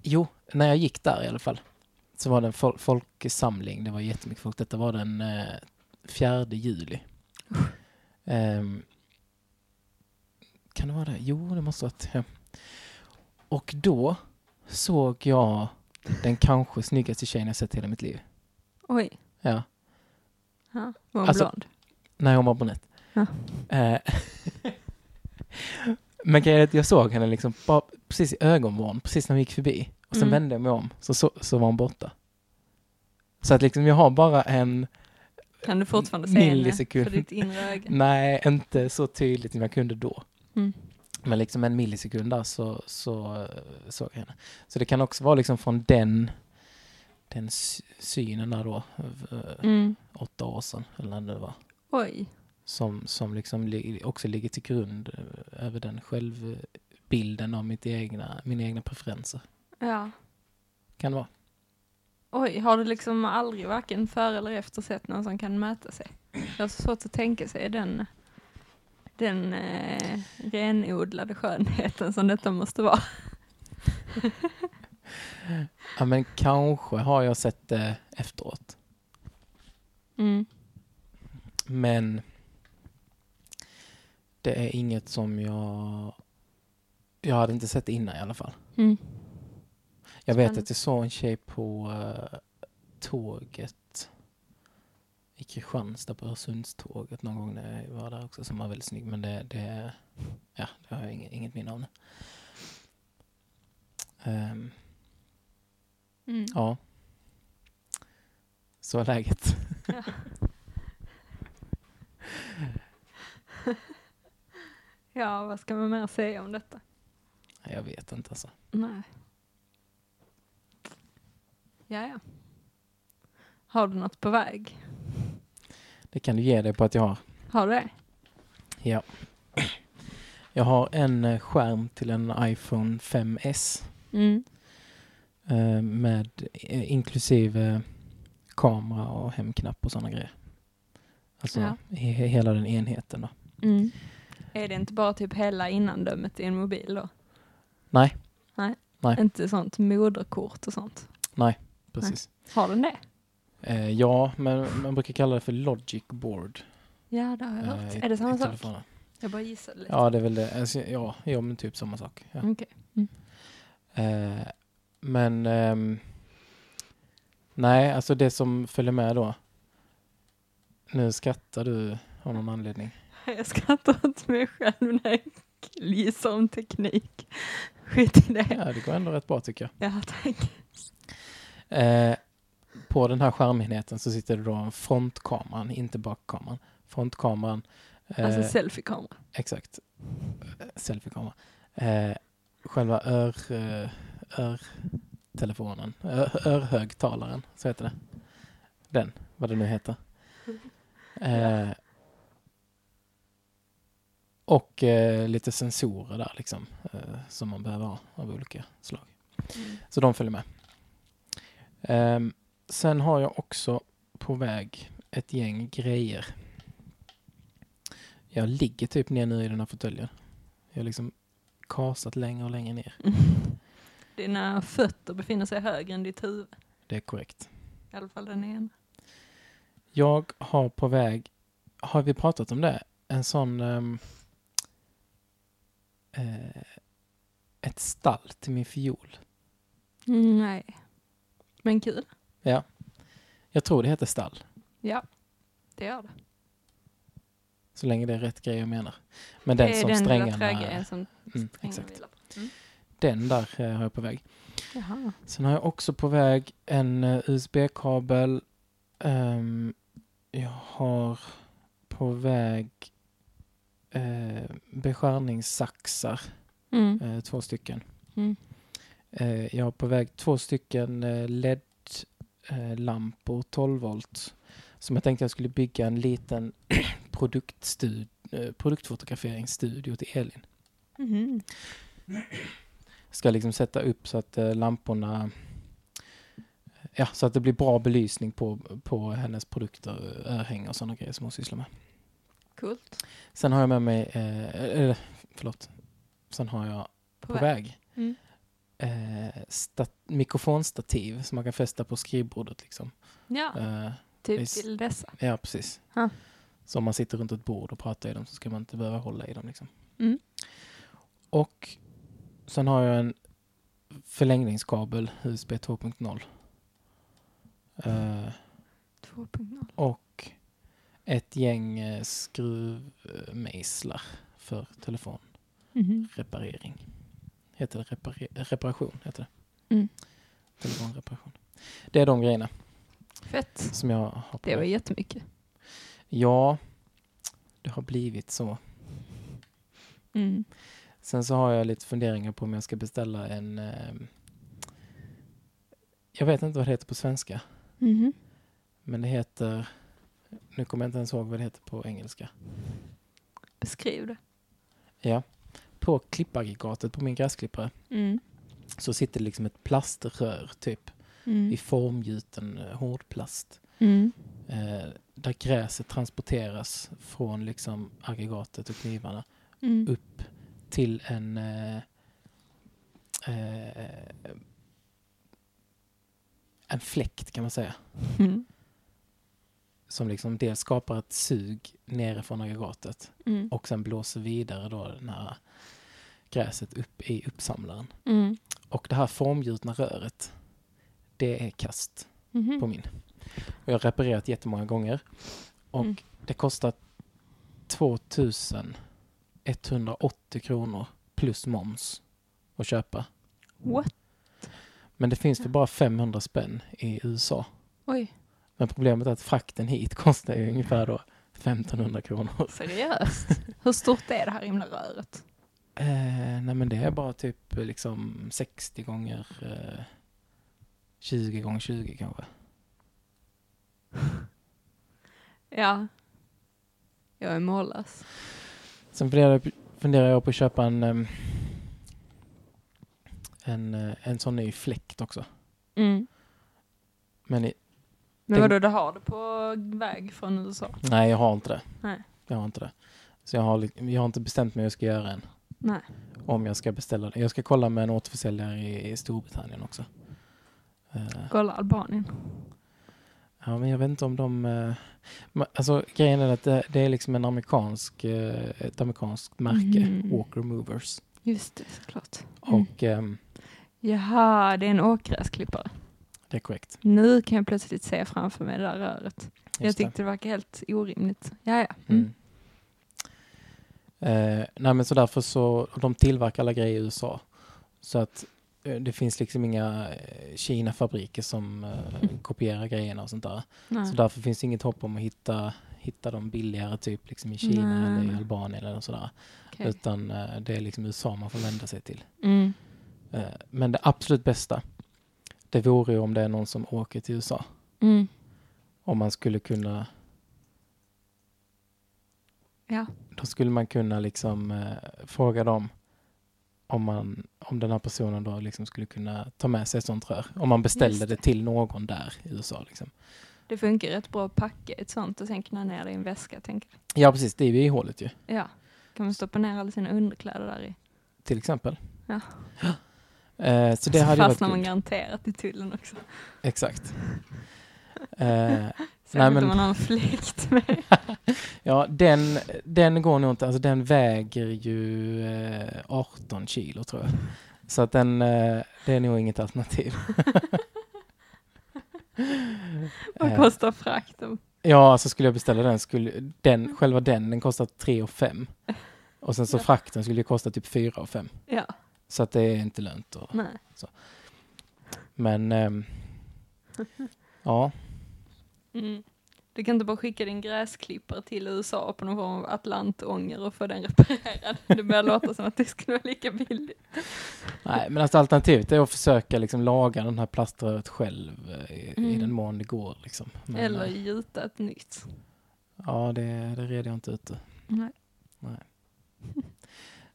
Speaker 1: jo, när jag gick där i alla fall så var det en fol- folksamling. Det var jättemycket folk. Detta var den eh, 4 juli. Ehm, kan det vara det? Jo, det måste ha varit. Ja. Och då såg jag den kanske snyggaste tjejen jag sett i hela mitt liv.
Speaker 2: Oj.
Speaker 1: Ja,
Speaker 2: Ja. Var hon
Speaker 1: Alltså-
Speaker 2: blond?
Speaker 1: när hon var brunett.
Speaker 2: Ja.
Speaker 1: Eh, Men grejen är att jag såg henne liksom bara precis i ögonvrån, precis när vi gick förbi. Och sen
Speaker 2: Mm.
Speaker 1: vände jag mig om, så, så, så var hon borta. Så att liksom jag har bara en,
Speaker 2: Kan du fortfarande se henne
Speaker 1: Millisekund. Mm.
Speaker 2: för ditt inre öga?
Speaker 1: nej inte så tydligt som jag kunde då.
Speaker 2: Mm.
Speaker 1: Men liksom en millisekund där så, så eh, såg jag henne. Så det kan också vara liksom från den, den sy- synen där då, eh,
Speaker 2: Mm.
Speaker 1: åtta år sedan eller när det var.
Speaker 2: Oj.
Speaker 1: som, som liksom li- också ligger till grund eh, över den självbilden av mitt egna, mina egna preferenser.
Speaker 2: Ja.
Speaker 1: Kan det vara.
Speaker 2: Oj, har du liksom aldrig varken före eller efter sett någon som kan mäta sig? Jag har så svårt att tänka sig den, den eh, renodlade skönheten som detta måste vara.
Speaker 1: Ja, men kanske har jag sett det efteråt.
Speaker 2: Mm.
Speaker 1: Men det är inget som jag... Jag hade inte sett det innan i alla fall.
Speaker 2: Mm.
Speaker 1: Jag vet
Speaker 2: Spännande.
Speaker 1: att jag såg en tjej på eh, tåget i Kristianstad på Öresundståget någon gång när jag var där också som var väldigt snygg men det, det, ja, det har jag inget, inget minne av nu. Ehm,
Speaker 2: Mm.
Speaker 1: ja. Så är läget.
Speaker 2: Ja, vad ska man mer säga om detta?
Speaker 1: Jag vet inte alltså.
Speaker 2: Nej. Ja, ja. Har du något på väg?
Speaker 1: Det kan du ge dig på att jag har.
Speaker 2: Har du det?
Speaker 1: Ja. Jag har en eh, skärm till en iPhone 5S.
Speaker 2: Mm.
Speaker 1: eh, med eh, inklusive kamera och hemknapp och sådana grejer. Alltså
Speaker 2: Ja.
Speaker 1: he- he- hela den enheten då.
Speaker 2: Mm. Är det inte bara typ hela innandömet i en mobil då?
Speaker 1: Nej.
Speaker 2: Nej.
Speaker 1: Nej.
Speaker 2: Inte sånt moderkort och sånt.
Speaker 1: Precis.
Speaker 2: Har den det?
Speaker 1: Eh, ja, men man brukar kalla det för logic board.
Speaker 2: Ja, det har jag
Speaker 1: eh,
Speaker 2: hört.
Speaker 1: i-
Speaker 2: är det samma
Speaker 1: i
Speaker 2: sak?
Speaker 1: telefonen.
Speaker 2: Jag bara gissade lite.
Speaker 1: Ja, det är väl det. Alltså, ja, ja, men typ samma sak. Ja.
Speaker 2: Okej. Mm.
Speaker 1: Eh, men ehm, nej, alltså det som följer med då. Nu skrattar du av någon anledning.
Speaker 2: Jag skrattar åt mig själv när jag gissar om teknik. Skit i det.
Speaker 1: Ja, det går ändå rätt bra tycker jag.
Speaker 2: Ja, tack.
Speaker 1: Eh, på den här skärmenheten så sitter det då en frontkameran, inte bakkameran. Frontkameran, eh,
Speaker 2: Alltså selfiekamera.
Speaker 1: exakt, Eh, selfiekamera, eh, själva ör... eh, örtelefonen. Ö- Örhögtalaren, så heter det. Den, vad det nu heter. Eh, och eh, lite sensorer där liksom. Eh, som man behöver ha av olika slag.
Speaker 2: Mm.
Speaker 1: Så de följer med. Ehm, sen har jag också på väg ett gäng grejer. Jag ligger typ ner nu i den här fåtöljen. Jag har liksom kasat längre och längre ner.
Speaker 2: Dina fötter befinner sig högre än ditt huvud.
Speaker 1: Det är korrekt.
Speaker 2: I alla fall den ena.
Speaker 1: Jag har på väg, har vi pratat om det? En sån... ehm, eh, ett stall till min fiol.
Speaker 2: Mm, nej. Men kul.
Speaker 1: Ja. Jag tror det heter stall.
Speaker 2: Ja, det gör det.
Speaker 1: Så länge det är rätt grej jag menar. Men den
Speaker 2: det är
Speaker 1: som
Speaker 2: den lilla
Speaker 1: strängarna...
Speaker 2: trägrejen som
Speaker 1: Mm,
Speaker 2: strängarna
Speaker 1: exakt.
Speaker 2: vilar på.
Speaker 1: Den där eh, har jag på väg.
Speaker 2: Jaha.
Speaker 1: Sen har jag också på väg en eh, USB-kabel. Ehm, jag har på väg eh, beskärningssaxar,
Speaker 2: Mm.
Speaker 1: eh, två stycken.
Speaker 2: Mm.
Speaker 1: Eh, jag har på väg två stycken eh, LED-lampor, 12 volt. Som jag tänkte jag skulle bygga en liten produktstud- eh, produktfotograferingsstudio till Elin.
Speaker 2: Mhm.
Speaker 1: ska liksom sätta upp så att eh, lamporna Ja, så att det blir bra belysning på, på hennes produkter, eh, örhängen och sådana grejer som hon sysslar med.
Speaker 2: Coolt.
Speaker 1: Sen har jag med mig, eh, eller förlåt, sen har jag på, väg,
Speaker 2: Mm.
Speaker 1: eh, stat, mikrofonstativ som man kan fästa på skrivbordet liksom.
Speaker 2: Ja,
Speaker 1: Eh,
Speaker 2: typ
Speaker 1: visst.
Speaker 2: till dessa.
Speaker 1: ja, precis.
Speaker 2: Ja.
Speaker 1: Så om man sitter runt ett bord och pratar i dem så ska man inte behöva hålla i dem liksom.
Speaker 2: Mm.
Speaker 1: Och sen har jag en förlängningskabel, USB 2.0. Eh,
Speaker 2: 2.0.
Speaker 1: och ett gäng eh, skruvmejslar för telefonreparering.
Speaker 2: Mhm.
Speaker 1: Heter det repare- reparation? Heter det.
Speaker 2: Mm.
Speaker 1: Telefonreparation. Det är de grejerna
Speaker 2: Fett.
Speaker 1: som jag har på
Speaker 2: Det var
Speaker 1: mig.
Speaker 2: jättemycket.
Speaker 1: Ja, det har blivit så.
Speaker 2: Mm.
Speaker 1: Sen så har jag lite funderingar på om jag ska beställa en... Eh, jag vet inte vad det heter på svenska,
Speaker 2: Mhm.
Speaker 1: men det heter... Nu kommer jag inte ens ihåg vad det heter på engelska.
Speaker 2: Beskriv det.
Speaker 1: Ja. På klippaggregatet på min gräsklippare
Speaker 2: Mm.
Speaker 1: så sitter det liksom ett plaströr typ i
Speaker 2: Mm.
Speaker 1: formgjuten eh, hårdplast.
Speaker 2: Mm.
Speaker 1: Eh, där gräset transporteras från liksom aggregatet och knivarna
Speaker 2: Mm.
Speaker 1: upp till en eh, eh, en fläkt kan man säga.
Speaker 2: Mm.
Speaker 1: Som liksom dels skapar ett sug nerifrån aggregatet
Speaker 2: Mm.
Speaker 1: och sen blåser vidare då den här gräset upp i uppsamlaren.
Speaker 2: Mm.
Speaker 1: Och det här formgjutna röret, det är kast
Speaker 2: Mhm.
Speaker 1: på min. Och jag har reparerat jättemånga gånger. Och
Speaker 2: Mm.
Speaker 1: det kostar 2180 kronor plus moms att köpa.
Speaker 2: What?
Speaker 1: Men det finns för bara 500 spänn i USA.
Speaker 2: Oj,
Speaker 1: Men problemet är att frakten hit kostar ju ungefär då 1500 kronor.
Speaker 2: seriöst? Hur stort är det här himla röret?
Speaker 1: Eh, nej men det är bara typ liksom 60 gånger eh, 20 gånger 20 kanske.
Speaker 2: Ja. Jag är mållös.
Speaker 1: Sen funderar jag, funderar jag på att köpa en, em, en, eh, en sån ny fläkt också.
Speaker 2: Mm.
Speaker 1: Men i,
Speaker 2: Men
Speaker 1: Tänk-
Speaker 2: vadå, du har det på väg från USA?
Speaker 1: nej, jag har inte det.
Speaker 2: Nej.
Speaker 1: Jag har inte det. Så jag har, li- jag har inte bestämt mig hur jag ska göra än.
Speaker 2: Nej.
Speaker 1: Om jag ska beställa det. Jag ska kolla med en återförsäljare i, i Storbritannien också. Eh,
Speaker 2: Kolla Albanien.
Speaker 1: ja, men jag vet inte om de... eh, ma- alltså, grejen är att det, det är liksom en amerikansk, eh, ett amerikanskt märke,
Speaker 2: Mhm.
Speaker 1: Walker Movers.
Speaker 2: Just det, såklart.
Speaker 1: Och
Speaker 2: Mm.
Speaker 1: ehm,
Speaker 2: Jaha, det är en åkgräsklippare.
Speaker 1: det är korrekt.
Speaker 2: Nu kan jag plötsligt se framför mig det där röret. jag
Speaker 1: Just det.
Speaker 2: tyckte det. verkar helt orimligt. Ja, ja. Mm.
Speaker 1: Mm. Eh, nej men så därför så, och de tillverkar alla grejer i USA. Så att eh, det finns liksom inga eh, Kina-fabriker som eh, kopierar grejerna och sånt där.
Speaker 2: Nej.
Speaker 1: Så därför finns inget hopp om att hitta, hitta dem billigare typ liksom i Kina
Speaker 2: Nej,
Speaker 1: eller i
Speaker 2: nej.
Speaker 1: Albanien eller sådär.
Speaker 2: Okej.
Speaker 1: Utan eh, det är liksom USA man får vända sig till.
Speaker 2: Mm.
Speaker 1: Eh, Men det absolut bästa, det vore ju om det är någon som åker till USA.
Speaker 2: Mm.
Speaker 1: Om man skulle kunna,
Speaker 2: Ja.
Speaker 1: då skulle man kunna liksom eh, fråga dem om, man, om den här personen då liksom skulle kunna ta med sig ett sånt rör. Om man beställde
Speaker 2: Just
Speaker 1: det.
Speaker 2: det.
Speaker 1: till någon där i USA. Liksom.
Speaker 2: Det funkar rätt bra att packa ett sånt och sen knä ner det i en väska, tänker jag.
Speaker 1: Ja, precis. Det är ju i hålet ju,
Speaker 2: Ja. Kan man stoppa ner alla sina underkläder där i.
Speaker 1: till exempel.
Speaker 2: Ja.
Speaker 1: Eh, så det
Speaker 2: så
Speaker 1: hade ju varit
Speaker 2: fastnar man
Speaker 1: kul.
Speaker 2: garanterat i tullen också.
Speaker 1: Exakt. Eh,
Speaker 2: Särskilt
Speaker 1: men-
Speaker 2: om man har en fläkt med.
Speaker 1: ja, den, den går nog inte, alltså den väger ju eh, 18 kilo tror jag. Så att den, eh, det är nog inget alternativ.
Speaker 2: Vad
Speaker 1: Eh,
Speaker 2: kostar frakten?
Speaker 1: Ja, alltså skulle jag beställa den, skulle den, själva den, den kostar 3 och 5. Och sen så
Speaker 2: Ja.
Speaker 1: frakten skulle ju kosta typ 4 och 5.
Speaker 2: Ja,
Speaker 1: Så att det är inte lönt. Och,
Speaker 2: nej.
Speaker 1: men, ehm, ja,
Speaker 2: Mm. Du kan inte bara skicka din gräsklippare till USA på någon form av atlantånger och få den reparerad. Det börjar låta som att det skulle vara lika billigt.
Speaker 1: nej, men alltså alternativet är att försöka liksom laga den här plaströret själv eh, i, i
Speaker 2: Mm.
Speaker 1: den mån det går. Liksom. Men,
Speaker 2: Eller
Speaker 1: eh,
Speaker 2: gjuta ett nytt.
Speaker 1: Ja, det, det red jag inte ut. ur.
Speaker 2: Nej.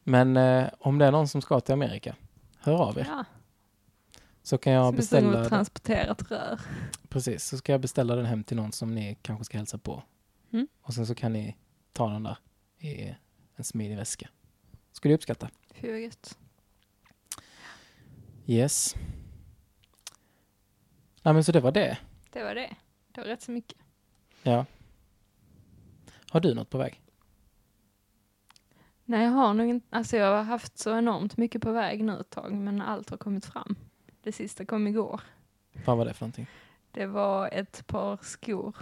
Speaker 1: Men eh, om det är någon som ska till Amerika, hör av er.
Speaker 2: Ja,
Speaker 1: Så kan jag
Speaker 2: som är tvungen att
Speaker 1: beställa, den,
Speaker 2: transportera ett rör.
Speaker 1: precis, så ska jag beställa den hem till någon som ni kanske ska hälsa på.
Speaker 2: Mm.
Speaker 1: Och sen så kan ni ta den där i en smidig väska. Skulle jag uppskatta.
Speaker 2: Fy vad gött.
Speaker 1: Yes. Nej men så det var det.
Speaker 2: Det var det. Det var rätt så mycket.
Speaker 1: Ja. Har du något på väg?
Speaker 2: Nej, jag har nog inte, alltså jag har haft så enormt mycket på väg nu ett tag, men allt har kommit fram. Det sista kom igår.
Speaker 1: Vad var det för någonting?
Speaker 2: Det var ett par skor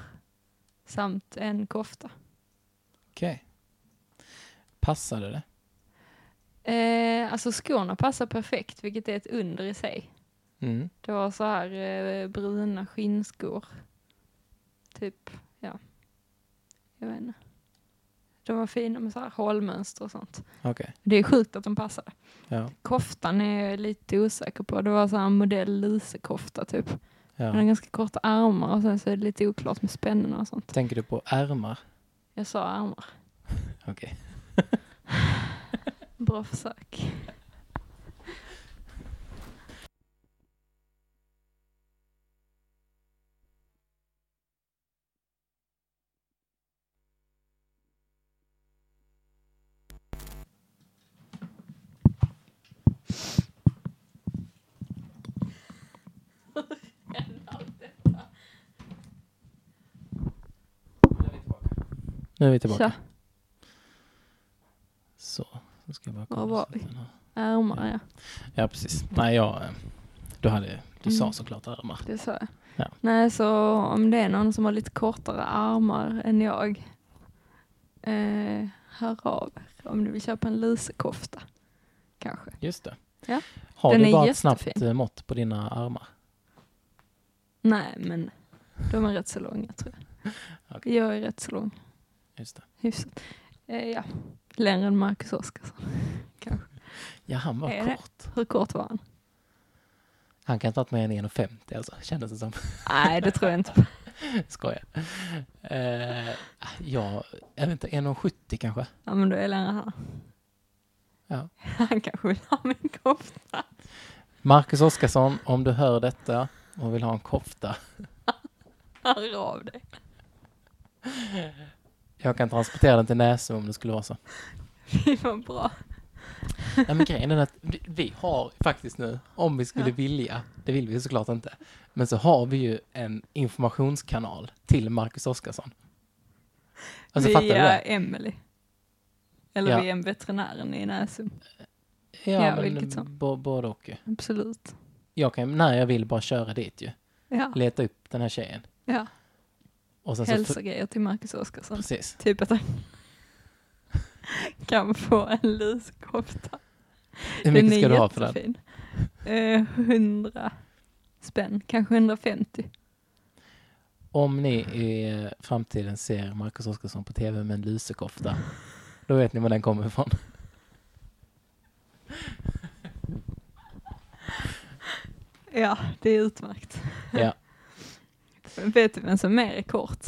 Speaker 2: samt en kofta.
Speaker 1: Okej. Passade det?
Speaker 2: Eh, alltså skorna passar perfekt, vilket är ett under i sig.
Speaker 1: Mm.
Speaker 2: Det var så här eh, bruna skinnskor. Typ, ja. Jag vet inte. De var fina med så här hålmönster och sånt.
Speaker 1: Okej.
Speaker 2: Det är sjukt att de passade.
Speaker 1: Ja.
Speaker 2: Koftan är jag lite osäker på. Det var så här en modell lusekofta typ. Den har
Speaker 1: ja.
Speaker 2: ganska korta armar och sen så är det lite oklart med spännena och sånt.
Speaker 1: Tänker du på ärmar?
Speaker 2: Jag sa armar.
Speaker 1: Okej.
Speaker 2: Bra försök.
Speaker 1: Nu är vi tillbaka.
Speaker 2: Tja,
Speaker 1: Så, så ska jag bara
Speaker 2: Var
Speaker 1: kolla
Speaker 2: var
Speaker 1: så att
Speaker 2: vi?
Speaker 1: den har-
Speaker 2: armar ja.
Speaker 1: Ja, precis. Nej, jag... eh, Du, hade, du sa
Speaker 2: Mm.
Speaker 1: såklart ärmar.
Speaker 2: Det sa jag.
Speaker 1: Ja.
Speaker 2: Nej, så om det är någon som har lite kortare armar än jag, eh, hör av er om du vill köpa en lusekofta. Kanske.
Speaker 1: Just det.
Speaker 2: Ja.
Speaker 1: Har
Speaker 2: Den
Speaker 1: du
Speaker 2: är
Speaker 1: bara ett
Speaker 2: jättefin.
Speaker 1: snabbt eh, mått på dina armar?
Speaker 2: Nej, men de är rätt så långa tror jag.
Speaker 1: Okej.
Speaker 2: Jag är rätt så lång,
Speaker 1: Just det.
Speaker 2: hyfsat. Eh, ja, längre än Marcus Oskarsson.
Speaker 1: Ja, han var
Speaker 2: Är det?
Speaker 1: kort.
Speaker 2: Hur kort var han?
Speaker 1: Han kan inte ha varit mer än 1,50 alltså, kändes det som.
Speaker 2: Nej, det tror jag inte.
Speaker 1: Skojar. Eh, ja, jag vet inte, 1,70 kanske?
Speaker 2: Ja, men då är jag längre här.
Speaker 1: Ja.
Speaker 2: Han kanske vill ha min kofta.
Speaker 1: Marcus Oskarsson, om du hör detta och vill ha en kofta,
Speaker 2: Hör av dig.
Speaker 1: jag kan transportera den till Näsum om det skulle vara så.
Speaker 2: Fy vad bra.
Speaker 1: Nej, men grejen är att vi, vi har faktiskt nu, om vi skulle
Speaker 2: Ja.
Speaker 1: vilja, det vill vi ju såklart inte, men så har vi ju en informationskanal till Marcus Oskarsson. Alltså fattar du
Speaker 2: via
Speaker 1: det?
Speaker 2: Emily. Eller
Speaker 1: Ja.
Speaker 2: via en veterinären i Näsum. ja, vilket som.
Speaker 1: bo- både och ju.
Speaker 2: Absolut.
Speaker 1: Jag kan, när jag vill, bara köra dit ju.
Speaker 2: Ja.
Speaker 1: Leta upp den här tjejen.
Speaker 2: ja.
Speaker 1: Och sen så...
Speaker 2: Hälsa grejer till Marcus Oskarsson.
Speaker 1: Precis.
Speaker 2: Typ att han kan få en lusekofta.
Speaker 1: Hur mycket ska du ha för den?
Speaker 2: den? är jättefin. Eh, 100 spänn, kanske 150.
Speaker 1: Om ni i eh, framtiden ser Marcus Oskarsson på tv med en lusekofta, då vet ni var den kommer ifrån.
Speaker 2: Ja, det är utmärkt.
Speaker 1: Ja.
Speaker 2: Vet du vem som mer är kort?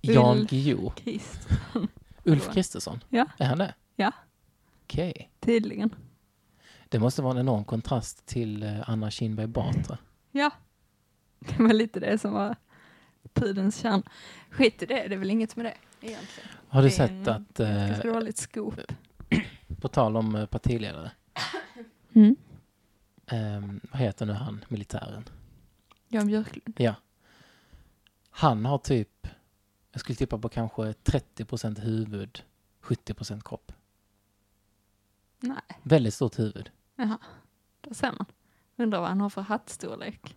Speaker 1: Jan
Speaker 2: Ulf.
Speaker 1: Guillou.
Speaker 2: Krist,
Speaker 1: Ulf Kristersson?
Speaker 2: Ja.
Speaker 1: Är han det?
Speaker 2: Ja.
Speaker 1: Okej.
Speaker 2: tydligen.
Speaker 1: Det måste vara en enorm kontrast till eh, Anna Kinberg Batra.
Speaker 2: Ja, det var lite det som var pudelns kärna. Skit i det, det är väl inget med det egentligen.
Speaker 1: Har du
Speaker 2: Det är
Speaker 1: sett
Speaker 2: en
Speaker 1: att, eh,
Speaker 2: Ganska dåligt skop.
Speaker 1: på tal om eh, partiledare,
Speaker 2: Mm.
Speaker 1: ehm, vad heter nu han, militären?
Speaker 2: Jan Björklund.
Speaker 1: Han har typ, jag skulle tippa på kanske 30% huvud, 70% kropp.
Speaker 2: Nej.
Speaker 1: Väldigt stort huvud.
Speaker 2: Jaha, där ser man. Undrar vad han har för hattstorlek.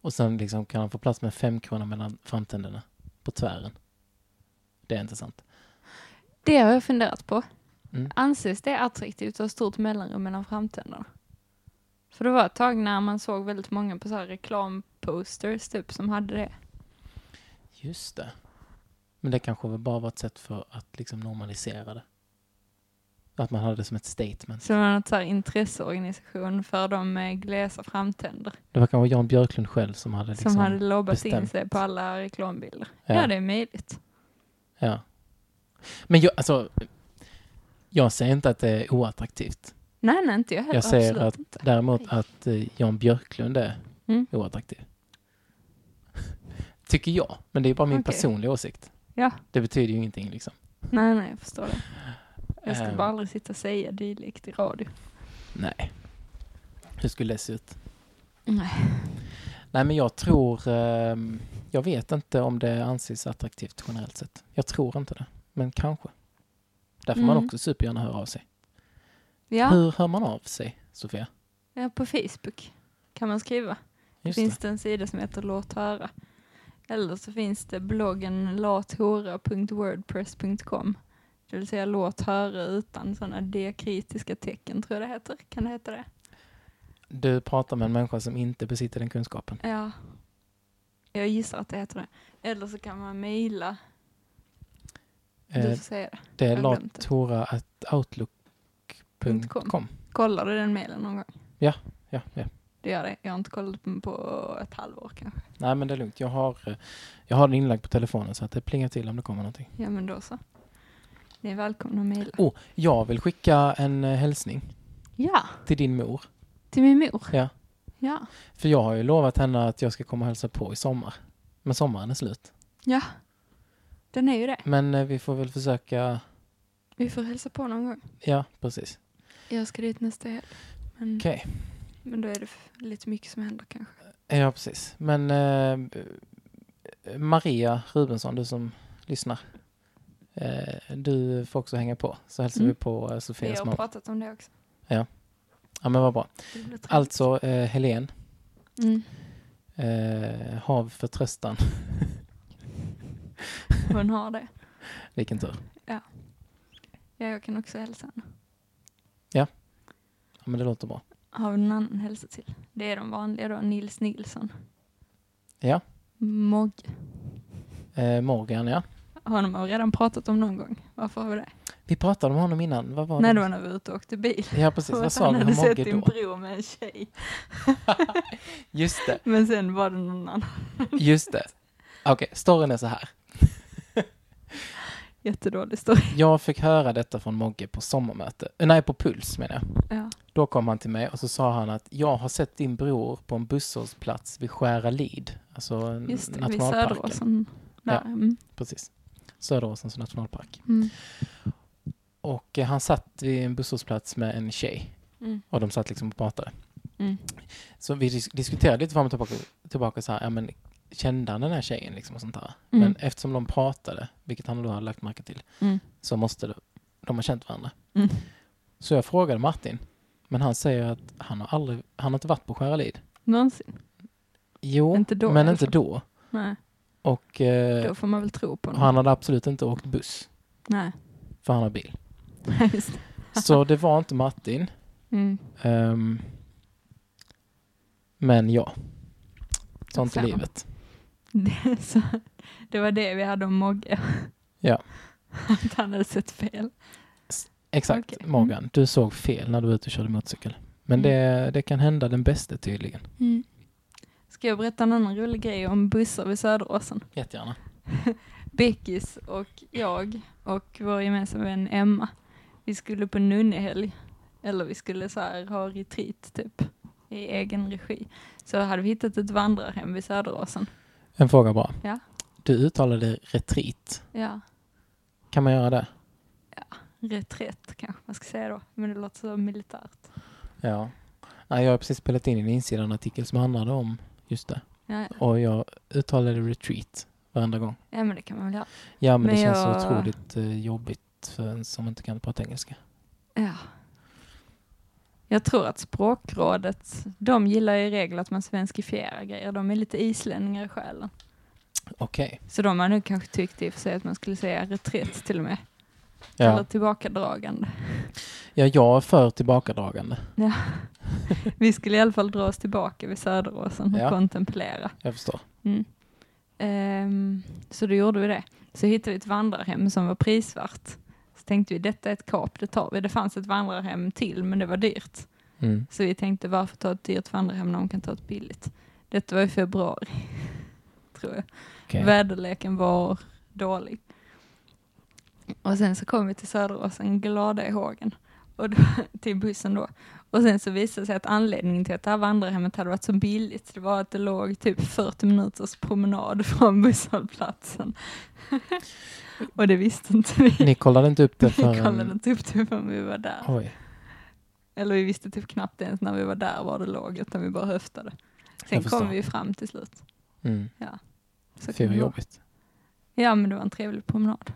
Speaker 1: Och sen liksom kan han få plats med fem kronor mellan framtänderna på tvären. Det är intressant.
Speaker 2: Det har jag funderat på.
Speaker 1: Mm.
Speaker 2: Anses det attraktivt att ha stort mellanrum mellan framtänderna? För det var ett tag när man såg väldigt många på så här reklamposters typ som hade det.
Speaker 1: Just det. Men det kanske väl bara var ett sätt för att liksom normalisera det. Att man hade det som ett statement.
Speaker 2: Så det var något så här intresseorganisation för de med glesa framtänder
Speaker 1: Det var kanske Jan Björklund själv som hade liksom...
Speaker 2: som hade lobbat in
Speaker 1: bestämt.
Speaker 2: sig på alla reklambilder. Ja,
Speaker 1: ja,
Speaker 2: det är möjligt.
Speaker 1: ja. Men jag, alltså... Jag säger inte att det är oattraktivt.
Speaker 2: Nej, nej, inte jag heller.
Speaker 1: Jag säger
Speaker 2: absolut
Speaker 1: att-
Speaker 2: inte.
Speaker 1: Däremot att eh, Jan Björklund är
Speaker 2: Mm.
Speaker 1: oattraktiv. Tycker jag. Men det är bara min
Speaker 2: Okej.
Speaker 1: personliga åsikt.
Speaker 2: Ja.
Speaker 1: Det betyder ju ingenting liksom.
Speaker 2: Nej, nej, jag förstår det. Jag skulle
Speaker 1: Ehm.
Speaker 2: bara aldrig sitta och säga dylikt i radio.
Speaker 1: Nej. Hur skulle det se ut?
Speaker 2: Nej.
Speaker 1: Nej men jag tror, ehm, jag vet inte om det anses attraktivt generellt sett. Jag tror inte det, men kanske. Där får man
Speaker 2: Mm.
Speaker 1: också supergärna höra av sig.
Speaker 2: Ja,
Speaker 1: Hur hör man av sig, Sofia?
Speaker 2: ja, på Facebook kan man skriva.
Speaker 1: Just
Speaker 2: finns
Speaker 1: det.
Speaker 2: det. en sida som heter Låt höra. Eller så finns det bloggen lathora.wordpress.com. Det vill säga låt höra utan sådana dekritiska tecken tror jag det heter. Kan det heta det?
Speaker 1: Du pratar med en människa som inte besitter den kunskapen.
Speaker 2: Ja. Jag gissar att det heter det. Eller så kan man mejla. Du får
Speaker 1: Eh,
Speaker 2: säga det.
Speaker 1: det
Speaker 2: jag
Speaker 1: är
Speaker 2: har glömt det.
Speaker 1: latora.outlook.com.
Speaker 2: Kollar du den mejlen någon gång?
Speaker 1: Ja, ja.
Speaker 2: Det gör det. Jag har inte kollat på den på ett halvår kanske.
Speaker 1: Nej men det är lugnt, jag har, eh, jag har den inlagd på telefonen så att det plingar till om det kommer någonting.
Speaker 2: Ja men då så. Ni är välkomna att mejla.
Speaker 1: Oh, jag vill skicka en eh, hälsning
Speaker 2: Ja,
Speaker 1: till din mor.
Speaker 2: till min mor.
Speaker 1: Ja.
Speaker 2: Ja.
Speaker 1: För jag har ju lovat henne att jag ska komma och hälsa på i sommar. Men sommaren är slut.
Speaker 2: Ja. Den är ju det.
Speaker 1: Men eh, vi får väl försöka...
Speaker 2: Vi får hälsa på någon gång.
Speaker 1: Ja, precis.
Speaker 2: Jag ska dit nästa helg. Men,
Speaker 1: Okej.
Speaker 2: men då är det f- lite mycket som händer kanske.
Speaker 1: Ja, precis. Men eh, Maria Rubensson, du som lyssnar. Eh, du får också hänga på. Så hälsar
Speaker 2: Mm.
Speaker 1: vi på eh,
Speaker 2: Vi
Speaker 1: Sofias
Speaker 2: har
Speaker 1: mamma.
Speaker 2: pratat om det också.
Speaker 1: Ja, men vad bra.
Speaker 2: Det blir trevligt.
Speaker 1: Alltså, eh, Helen,
Speaker 2: Mm.
Speaker 1: eh, hav förtröstan.
Speaker 2: Hon har det.
Speaker 1: Vilken tur.
Speaker 2: Ja, jag kan också hälsa henne.
Speaker 1: Ja, men det låter bra.
Speaker 2: Har vi någon annan hälsa till? Det är de vanliga då. Nils Nilsson.
Speaker 1: Ja.
Speaker 2: Mogge.
Speaker 1: Eh, Morgan, ja.
Speaker 2: Honom har vi redan pratat om någon gång. Varför har vi det?
Speaker 1: Vi pratade om honom innan. Vad var
Speaker 2: När det
Speaker 1: det?
Speaker 2: var när vi var ute och åkte bil.
Speaker 1: Ja, precis.
Speaker 2: Och
Speaker 1: Vad
Speaker 2: att
Speaker 1: sa
Speaker 2: han
Speaker 1: vi
Speaker 2: hade
Speaker 1: om
Speaker 2: sett
Speaker 1: Mogge
Speaker 2: din
Speaker 1: då?
Speaker 2: bror med en tjej.
Speaker 1: Just det.
Speaker 2: Men sen var det någon annan.
Speaker 1: Just det. Okej, storyn är så här.
Speaker 2: Jättedålig story.
Speaker 1: Jag fick höra detta från Mogge på sommarmöte. Eh, Nej, på Puls menar jag.
Speaker 2: Ja.
Speaker 1: Då kom han till mig och så sa han att jag har sett din bror på en busshållplats vid Skäralid. Alltså n-
Speaker 2: Just det, vid
Speaker 1: nationalparken.
Speaker 2: Söderåsen. Där.
Speaker 1: Ja.
Speaker 2: Mm.
Speaker 1: Precis. Söderåsens nationalpark.
Speaker 2: Mm.
Speaker 1: Och eh, han satt vid en busshållplats med en tjej.
Speaker 2: Mm.
Speaker 1: Och de satt liksom och pratade.
Speaker 2: Mm.
Speaker 1: Så vi dis- diskuterade lite fram och tillbaka, tillbaka så här, ja men kände han den här tjejen liksom och sånt där.
Speaker 2: Mm.
Speaker 1: Men eftersom de pratade, vilket han då hade lagt märke till,
Speaker 2: Mm.
Speaker 1: så måste de, de ha känt varandra.
Speaker 2: Mm.
Speaker 1: Så jag frågade Martin, men han säger att han har aldrig, han har inte varit på Skäralid.
Speaker 2: Någonsin.
Speaker 1: Jo,
Speaker 2: Inte då,
Speaker 1: men
Speaker 2: i alla
Speaker 1: inte
Speaker 2: fall.
Speaker 1: då.
Speaker 2: Nej,
Speaker 1: Och, eh,
Speaker 2: då får man väl tro på
Speaker 1: och
Speaker 2: honom.
Speaker 1: han hade absolut inte åkt buss,
Speaker 2: Nej,
Speaker 1: för han har bil.
Speaker 2: just det.
Speaker 1: Så det var inte Martin,
Speaker 2: Mm.
Speaker 1: ehm, men ja. Sånt är
Speaker 2: Samma.
Speaker 1: livet.
Speaker 2: Det, så, det var det vi hade om Mogge.
Speaker 1: Ja.
Speaker 2: Att han hade sett fel.
Speaker 1: Exakt,
Speaker 2: Okej.
Speaker 1: Morgan. Du såg fel när du var ute och körde motorcykel. Men
Speaker 2: Mm.
Speaker 1: det, det kan hända den bästa tydligen.
Speaker 2: Ska jag berätta en annan rolig grej om bussar vid Söderåsen?
Speaker 1: Jättegärna.
Speaker 2: Beckis och jag och vår gemensamma vän Emma, vi skulle på nunnehelg. Eller vi skulle så här ha retreat typ, i egen regi. Så hade vi hittat ett vandrarhem vid Söderåsen.
Speaker 1: En fråga bara.
Speaker 2: Ja.
Speaker 1: Du uttalade retreat.
Speaker 2: Ja,
Speaker 1: Kan man göra det?
Speaker 2: reträtt kanske man ska säga då. Men det låter så militärt.
Speaker 1: Ja. Nej, jag har precis spelat in en insidanartikel som handlade om just det.
Speaker 2: Ja,
Speaker 1: Och jag uttalade retreat varenda gång.
Speaker 2: ja men det kan man väl göra.
Speaker 1: Ja, men,
Speaker 2: Men
Speaker 1: det känns så
Speaker 2: jag-
Speaker 1: otroligt eh, jobbigt för en som inte kan prata engelska.
Speaker 2: Ja. Jag tror att språkrådet, de gillar i regel att man svenskifierar grejer. De är lite islänningar i själen.
Speaker 1: Okej.
Speaker 2: Så de har nu kanske tyckt i och för sig att man skulle säga reträtt till och med. Eller
Speaker 1: Ja.
Speaker 2: tillbakadragande.
Speaker 1: ja, jag är för tillbakadragande.
Speaker 2: Vi skulle i alla fall dra oss tillbaka vid Söderåsen och
Speaker 1: Ja.
Speaker 2: kontemplera. Mm.
Speaker 1: Jag förstår.
Speaker 2: Ehm, så då gjorde vi det. Så hittade vi ett vandrarhem som var prisvärt. Så tänkte vi, detta är ett kap, det tar vi. Det fanns ett vandrarhem till, men det var dyrt.
Speaker 1: Mm.
Speaker 2: Så vi tänkte, varför ta ett dyrt vandrarhem när de kan ta ett billigt? Detta var i februari, tror jag.
Speaker 1: Okej.
Speaker 2: Väderleken var dålig. Och sen så kom vi till Söderåsen, glada i hågen, och då, till bussen då. Och sen så visade det sig att anledningen till att det här vandrarhemmet hade varit så billigt, det var att det låg typ 40 minuters promenad från busshållplatsen. och det visste inte vi.
Speaker 1: Ni kollade inte upp det
Speaker 2: Vi
Speaker 1: förrän...
Speaker 2: kollade inte upp det förrän vi var där.
Speaker 1: Oj.
Speaker 2: Eller vi visste typ knappt ens när vi var där var det låg, utan vi bara höftade. Sen
Speaker 1: Jag förstår.
Speaker 2: kom vi ju fram till slut.
Speaker 1: Mm. Fy
Speaker 2: Så kan
Speaker 1: vad
Speaker 2: det vara.
Speaker 1: jobbigt.
Speaker 2: Ja, men det var en trevlig promenad.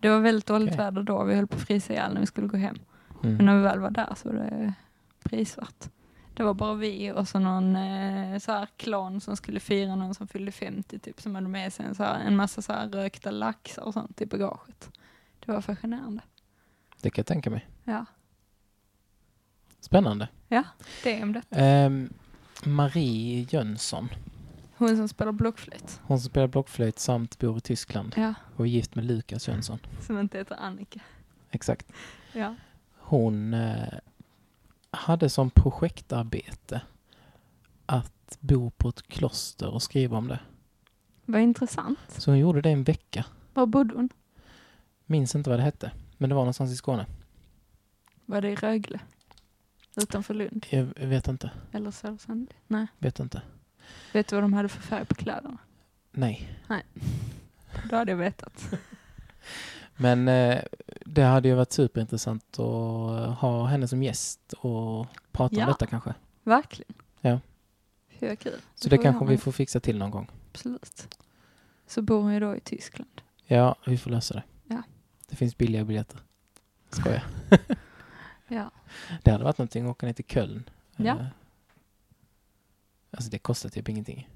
Speaker 2: Det var väldigt dåligt
Speaker 1: Okej.
Speaker 2: väder då, vi höll på att frysa ihjäl när vi skulle gå hem. Men
Speaker 1: Mm.
Speaker 2: när vi väl var där så var det prisvärt. Det var bara vi och så någon eh, så här klan som skulle fira någon som fyllde 50 typ, som hade med sig en, så här, en massa så här rökta laxar och sånt typ, i bagaget. Det var fascinerande.
Speaker 1: Det kan jag tänka mig.
Speaker 2: Ja,
Speaker 1: Spännande.
Speaker 2: det är om det.
Speaker 1: Ehm, Marie Jönsson,
Speaker 2: Hon som spelar blockflöjt.
Speaker 1: hon som spelar blockflöjt samt bor i Tyskland
Speaker 2: Ja,
Speaker 1: och är gift med Lukas Jönsson.
Speaker 2: som inte heter Annika.
Speaker 1: Exakt.
Speaker 2: Ja.
Speaker 1: Hon eh, hade som projektarbete att bo på ett kloster och skriva om det.
Speaker 2: Vad intressant.
Speaker 1: Så hon gjorde det en vecka.
Speaker 2: Var bodde hon?
Speaker 1: Minns inte vad det hette, men det var någonstans i Skåne.
Speaker 2: Var det i Rögle? Utanför Lund?
Speaker 1: Jag vet inte.
Speaker 2: Eller Sölvsand? Nej.
Speaker 1: Vet inte.
Speaker 2: Vet du vad de hade för färg på kläderna?
Speaker 1: Nej.
Speaker 2: Då hade jag vetat.
Speaker 1: Men eh, det hade ju varit superintressant att ha henne som gäst och prata
Speaker 2: Ja.
Speaker 1: om detta kanske.
Speaker 2: Verkligen.
Speaker 1: Ja.
Speaker 2: Fy vad kul.
Speaker 1: Så det
Speaker 2: får
Speaker 1: kanske
Speaker 2: göra
Speaker 1: vi
Speaker 2: nu.
Speaker 1: får fixa till någon gång.
Speaker 2: Absolut. Så bor hon ju då i Tyskland.
Speaker 1: Ja, vi får lösa det.
Speaker 2: Ja.
Speaker 1: Det finns billiga biljetter. Skoja.
Speaker 2: Ja.
Speaker 1: Det hade varit någonting att åka ner till Köln.
Speaker 2: Ja.
Speaker 1: Eh, Alltså det kostar typ ingenting.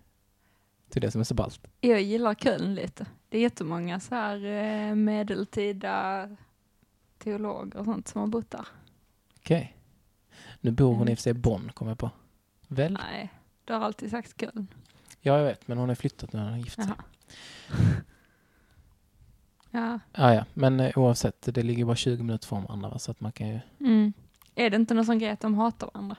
Speaker 1: Till det som är så ballt.
Speaker 2: Jag gillar Köln lite. Det är jättemånga så här eh, medeltida teologer och sånt som har bott där.
Speaker 1: Okej. Nu bor hon
Speaker 2: Mm.
Speaker 1: i och för sig i Bonn, kommer jag på. Väl?
Speaker 2: Nej, du har alltid sagt Köln.
Speaker 1: Ja, jag vet. Men hon har flyttat när hon har gift sig.
Speaker 2: Jaha. Ja.
Speaker 1: Ah, ja, men eh, oavsett. Det ligger bara 20 minuter från varandra, va? så att man kan ju...
Speaker 2: Mm. Är det inte någon sån grej att de hatar varandra?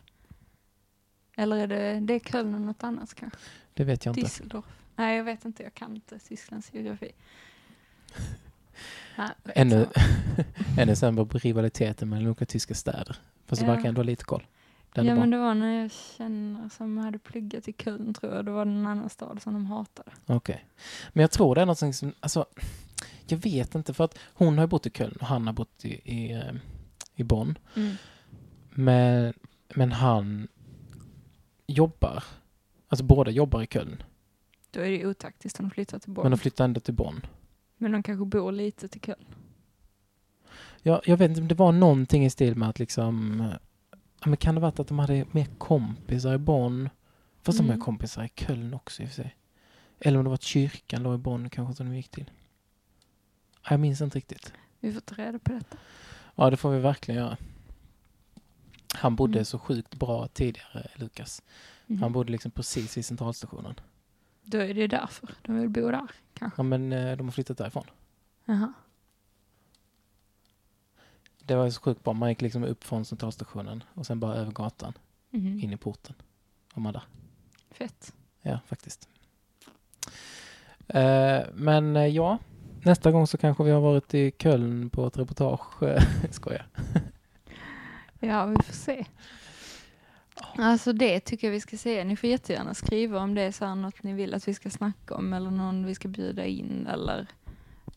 Speaker 2: Eller är det, det är Köln och något annat kanske?
Speaker 1: Det vet jag inte.
Speaker 2: Düsseldorf? Nej, jag vet inte. Jag kan inte Tysklands geografi. Nej,
Speaker 1: Ännu,
Speaker 2: skitsamma.
Speaker 1: ännu sen var rivaliteten mellan olika tyska städer. Fast
Speaker 2: Ja.
Speaker 1: det verkar ändå ha lite koll. Det är
Speaker 2: Ja,
Speaker 1: ändå
Speaker 2: men det var när jag känner som hade pluggat i Köln, tror jag. Det var en annan stad som de hatade.
Speaker 1: Men jag tror det är någonting som, alltså, jag vet inte för att hon har ju bott i Köln och han har bott i, i, eh, i Bonn. Men, men han jobbar, alltså båda jobbar i Köln,
Speaker 2: Då är det ju otaktiskt om de flyttar till Bonn.
Speaker 1: men
Speaker 2: Men
Speaker 1: de
Speaker 2: de,
Speaker 1: flyttar ändå till Bonn.
Speaker 2: kanske bor lite till Köln.
Speaker 1: Jag, jag vet inte, det var någonting i stil med att liksom, eh, ja, men kan det varit att de hade mer kompisar i Bonn? Fast de
Speaker 2: Mm.
Speaker 1: har ju kompisar i Köln också i och för sig. Eller om det var att kyrkan låg i Bonn kanske som de gick till. Jag minns inte riktigt.
Speaker 2: Vi får ta reda på detta.
Speaker 1: Ja, det får vi verkligen göra. Han bodde
Speaker 2: Mm.
Speaker 1: så sjukt bra tidigare, Lukas.
Speaker 2: Mhm.
Speaker 1: Han bodde liksom precis vid centralstationen.
Speaker 2: Då är det därför de vill bo där.
Speaker 1: Ja, men eh, de har flyttat därifrån.
Speaker 2: Jaha.
Speaker 1: Det var ju så sjukt bra. Man gick liksom upp från centralstationen och sen bara över gatan,
Speaker 2: Mhm.
Speaker 1: in i porten. Var man där.
Speaker 2: Fett.
Speaker 1: Ja, faktiskt. Eh, men eh, ja, nästa gång så kanske vi har varit i Köln på ett reportage. Eh, Skojar.
Speaker 2: Ja, vi får se. Alltså det tycker jag vi ska se. Ni får jättegärna skriva om det är så här något ni vill att vi ska snacka om eller någon vi ska bjuda in eller,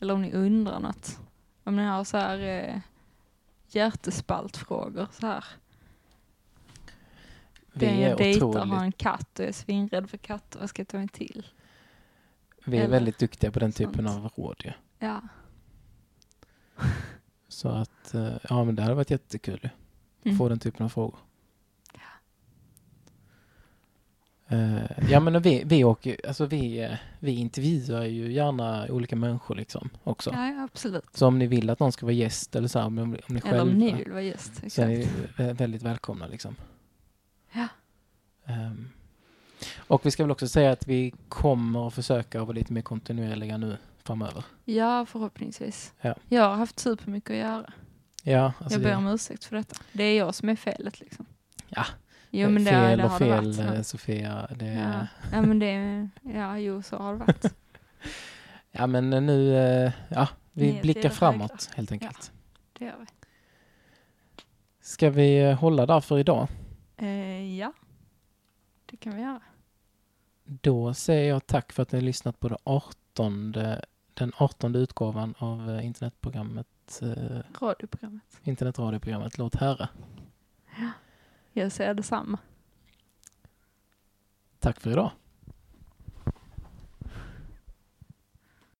Speaker 2: eller om ni undrar något. Om ni har så här eh, hjärtespaltfrågor så här.
Speaker 1: Vi
Speaker 2: Den jag
Speaker 1: är
Speaker 2: dejtar har
Speaker 1: otroligt,
Speaker 2: en katt och är svinrädd för katter. Vad ska jag ta mig till?
Speaker 1: vi är
Speaker 2: eller
Speaker 1: väldigt duktiga på den typen
Speaker 2: sånt.
Speaker 1: av råd ju.
Speaker 2: Ja.
Speaker 1: Så att, eh, ja men det hade varit jättekul ju.
Speaker 2: Mm.
Speaker 1: Få den typen av frågor. Eh, ja men vi, vi åker ju- alltså vi, eh, vi intervjuar ju gärna olika människor liksom också.
Speaker 2: Ja, ja, absolut.
Speaker 1: Så om ni vill att någon ska vara gäst eller så här, om, om ni själva.
Speaker 2: Eller om ni vill vara gäst.
Speaker 1: Så är
Speaker 2: Exakt.
Speaker 1: ni vä- väldigt välkomna liksom.
Speaker 2: Ja.
Speaker 1: Ehm, och vi ska väl också säga att vi kommer att försöka vara lite mer kontinuerliga nu framöver.
Speaker 2: Ja, förhoppningsvis.
Speaker 1: Ja.
Speaker 2: Jag har haft supermycket att göra.
Speaker 1: Ja, alltså
Speaker 2: jag ber
Speaker 1: det-
Speaker 2: om ursäkt för detta. Det är jag som är felet liksom.
Speaker 1: Ja.
Speaker 2: Jo men det,
Speaker 1: fel
Speaker 2: det
Speaker 1: och
Speaker 2: har det
Speaker 1: fel
Speaker 2: varit. Ja.
Speaker 1: eh, Sofia. Det,
Speaker 2: Ja.
Speaker 1: ja.
Speaker 2: ja men det, ja jo så har det varit.
Speaker 1: men nu, eh, ja vi
Speaker 2: Nya
Speaker 1: blickar
Speaker 2: tider
Speaker 1: framåt
Speaker 2: högra.
Speaker 1: helt enkelt.
Speaker 2: Det gör vi.
Speaker 1: Ska vi eh, hålla där för idag?
Speaker 2: Eh, ja. Det kan vi göra.
Speaker 1: Då säger jag tack för att ni har lyssnat på det 18, den 18 utgåvan av eh, internetprogrammet, eh,
Speaker 2: Radioprogrammet.
Speaker 1: internetradioprogrammet Låt höra.
Speaker 2: Jag säger detsamma.
Speaker 1: Tack för idag.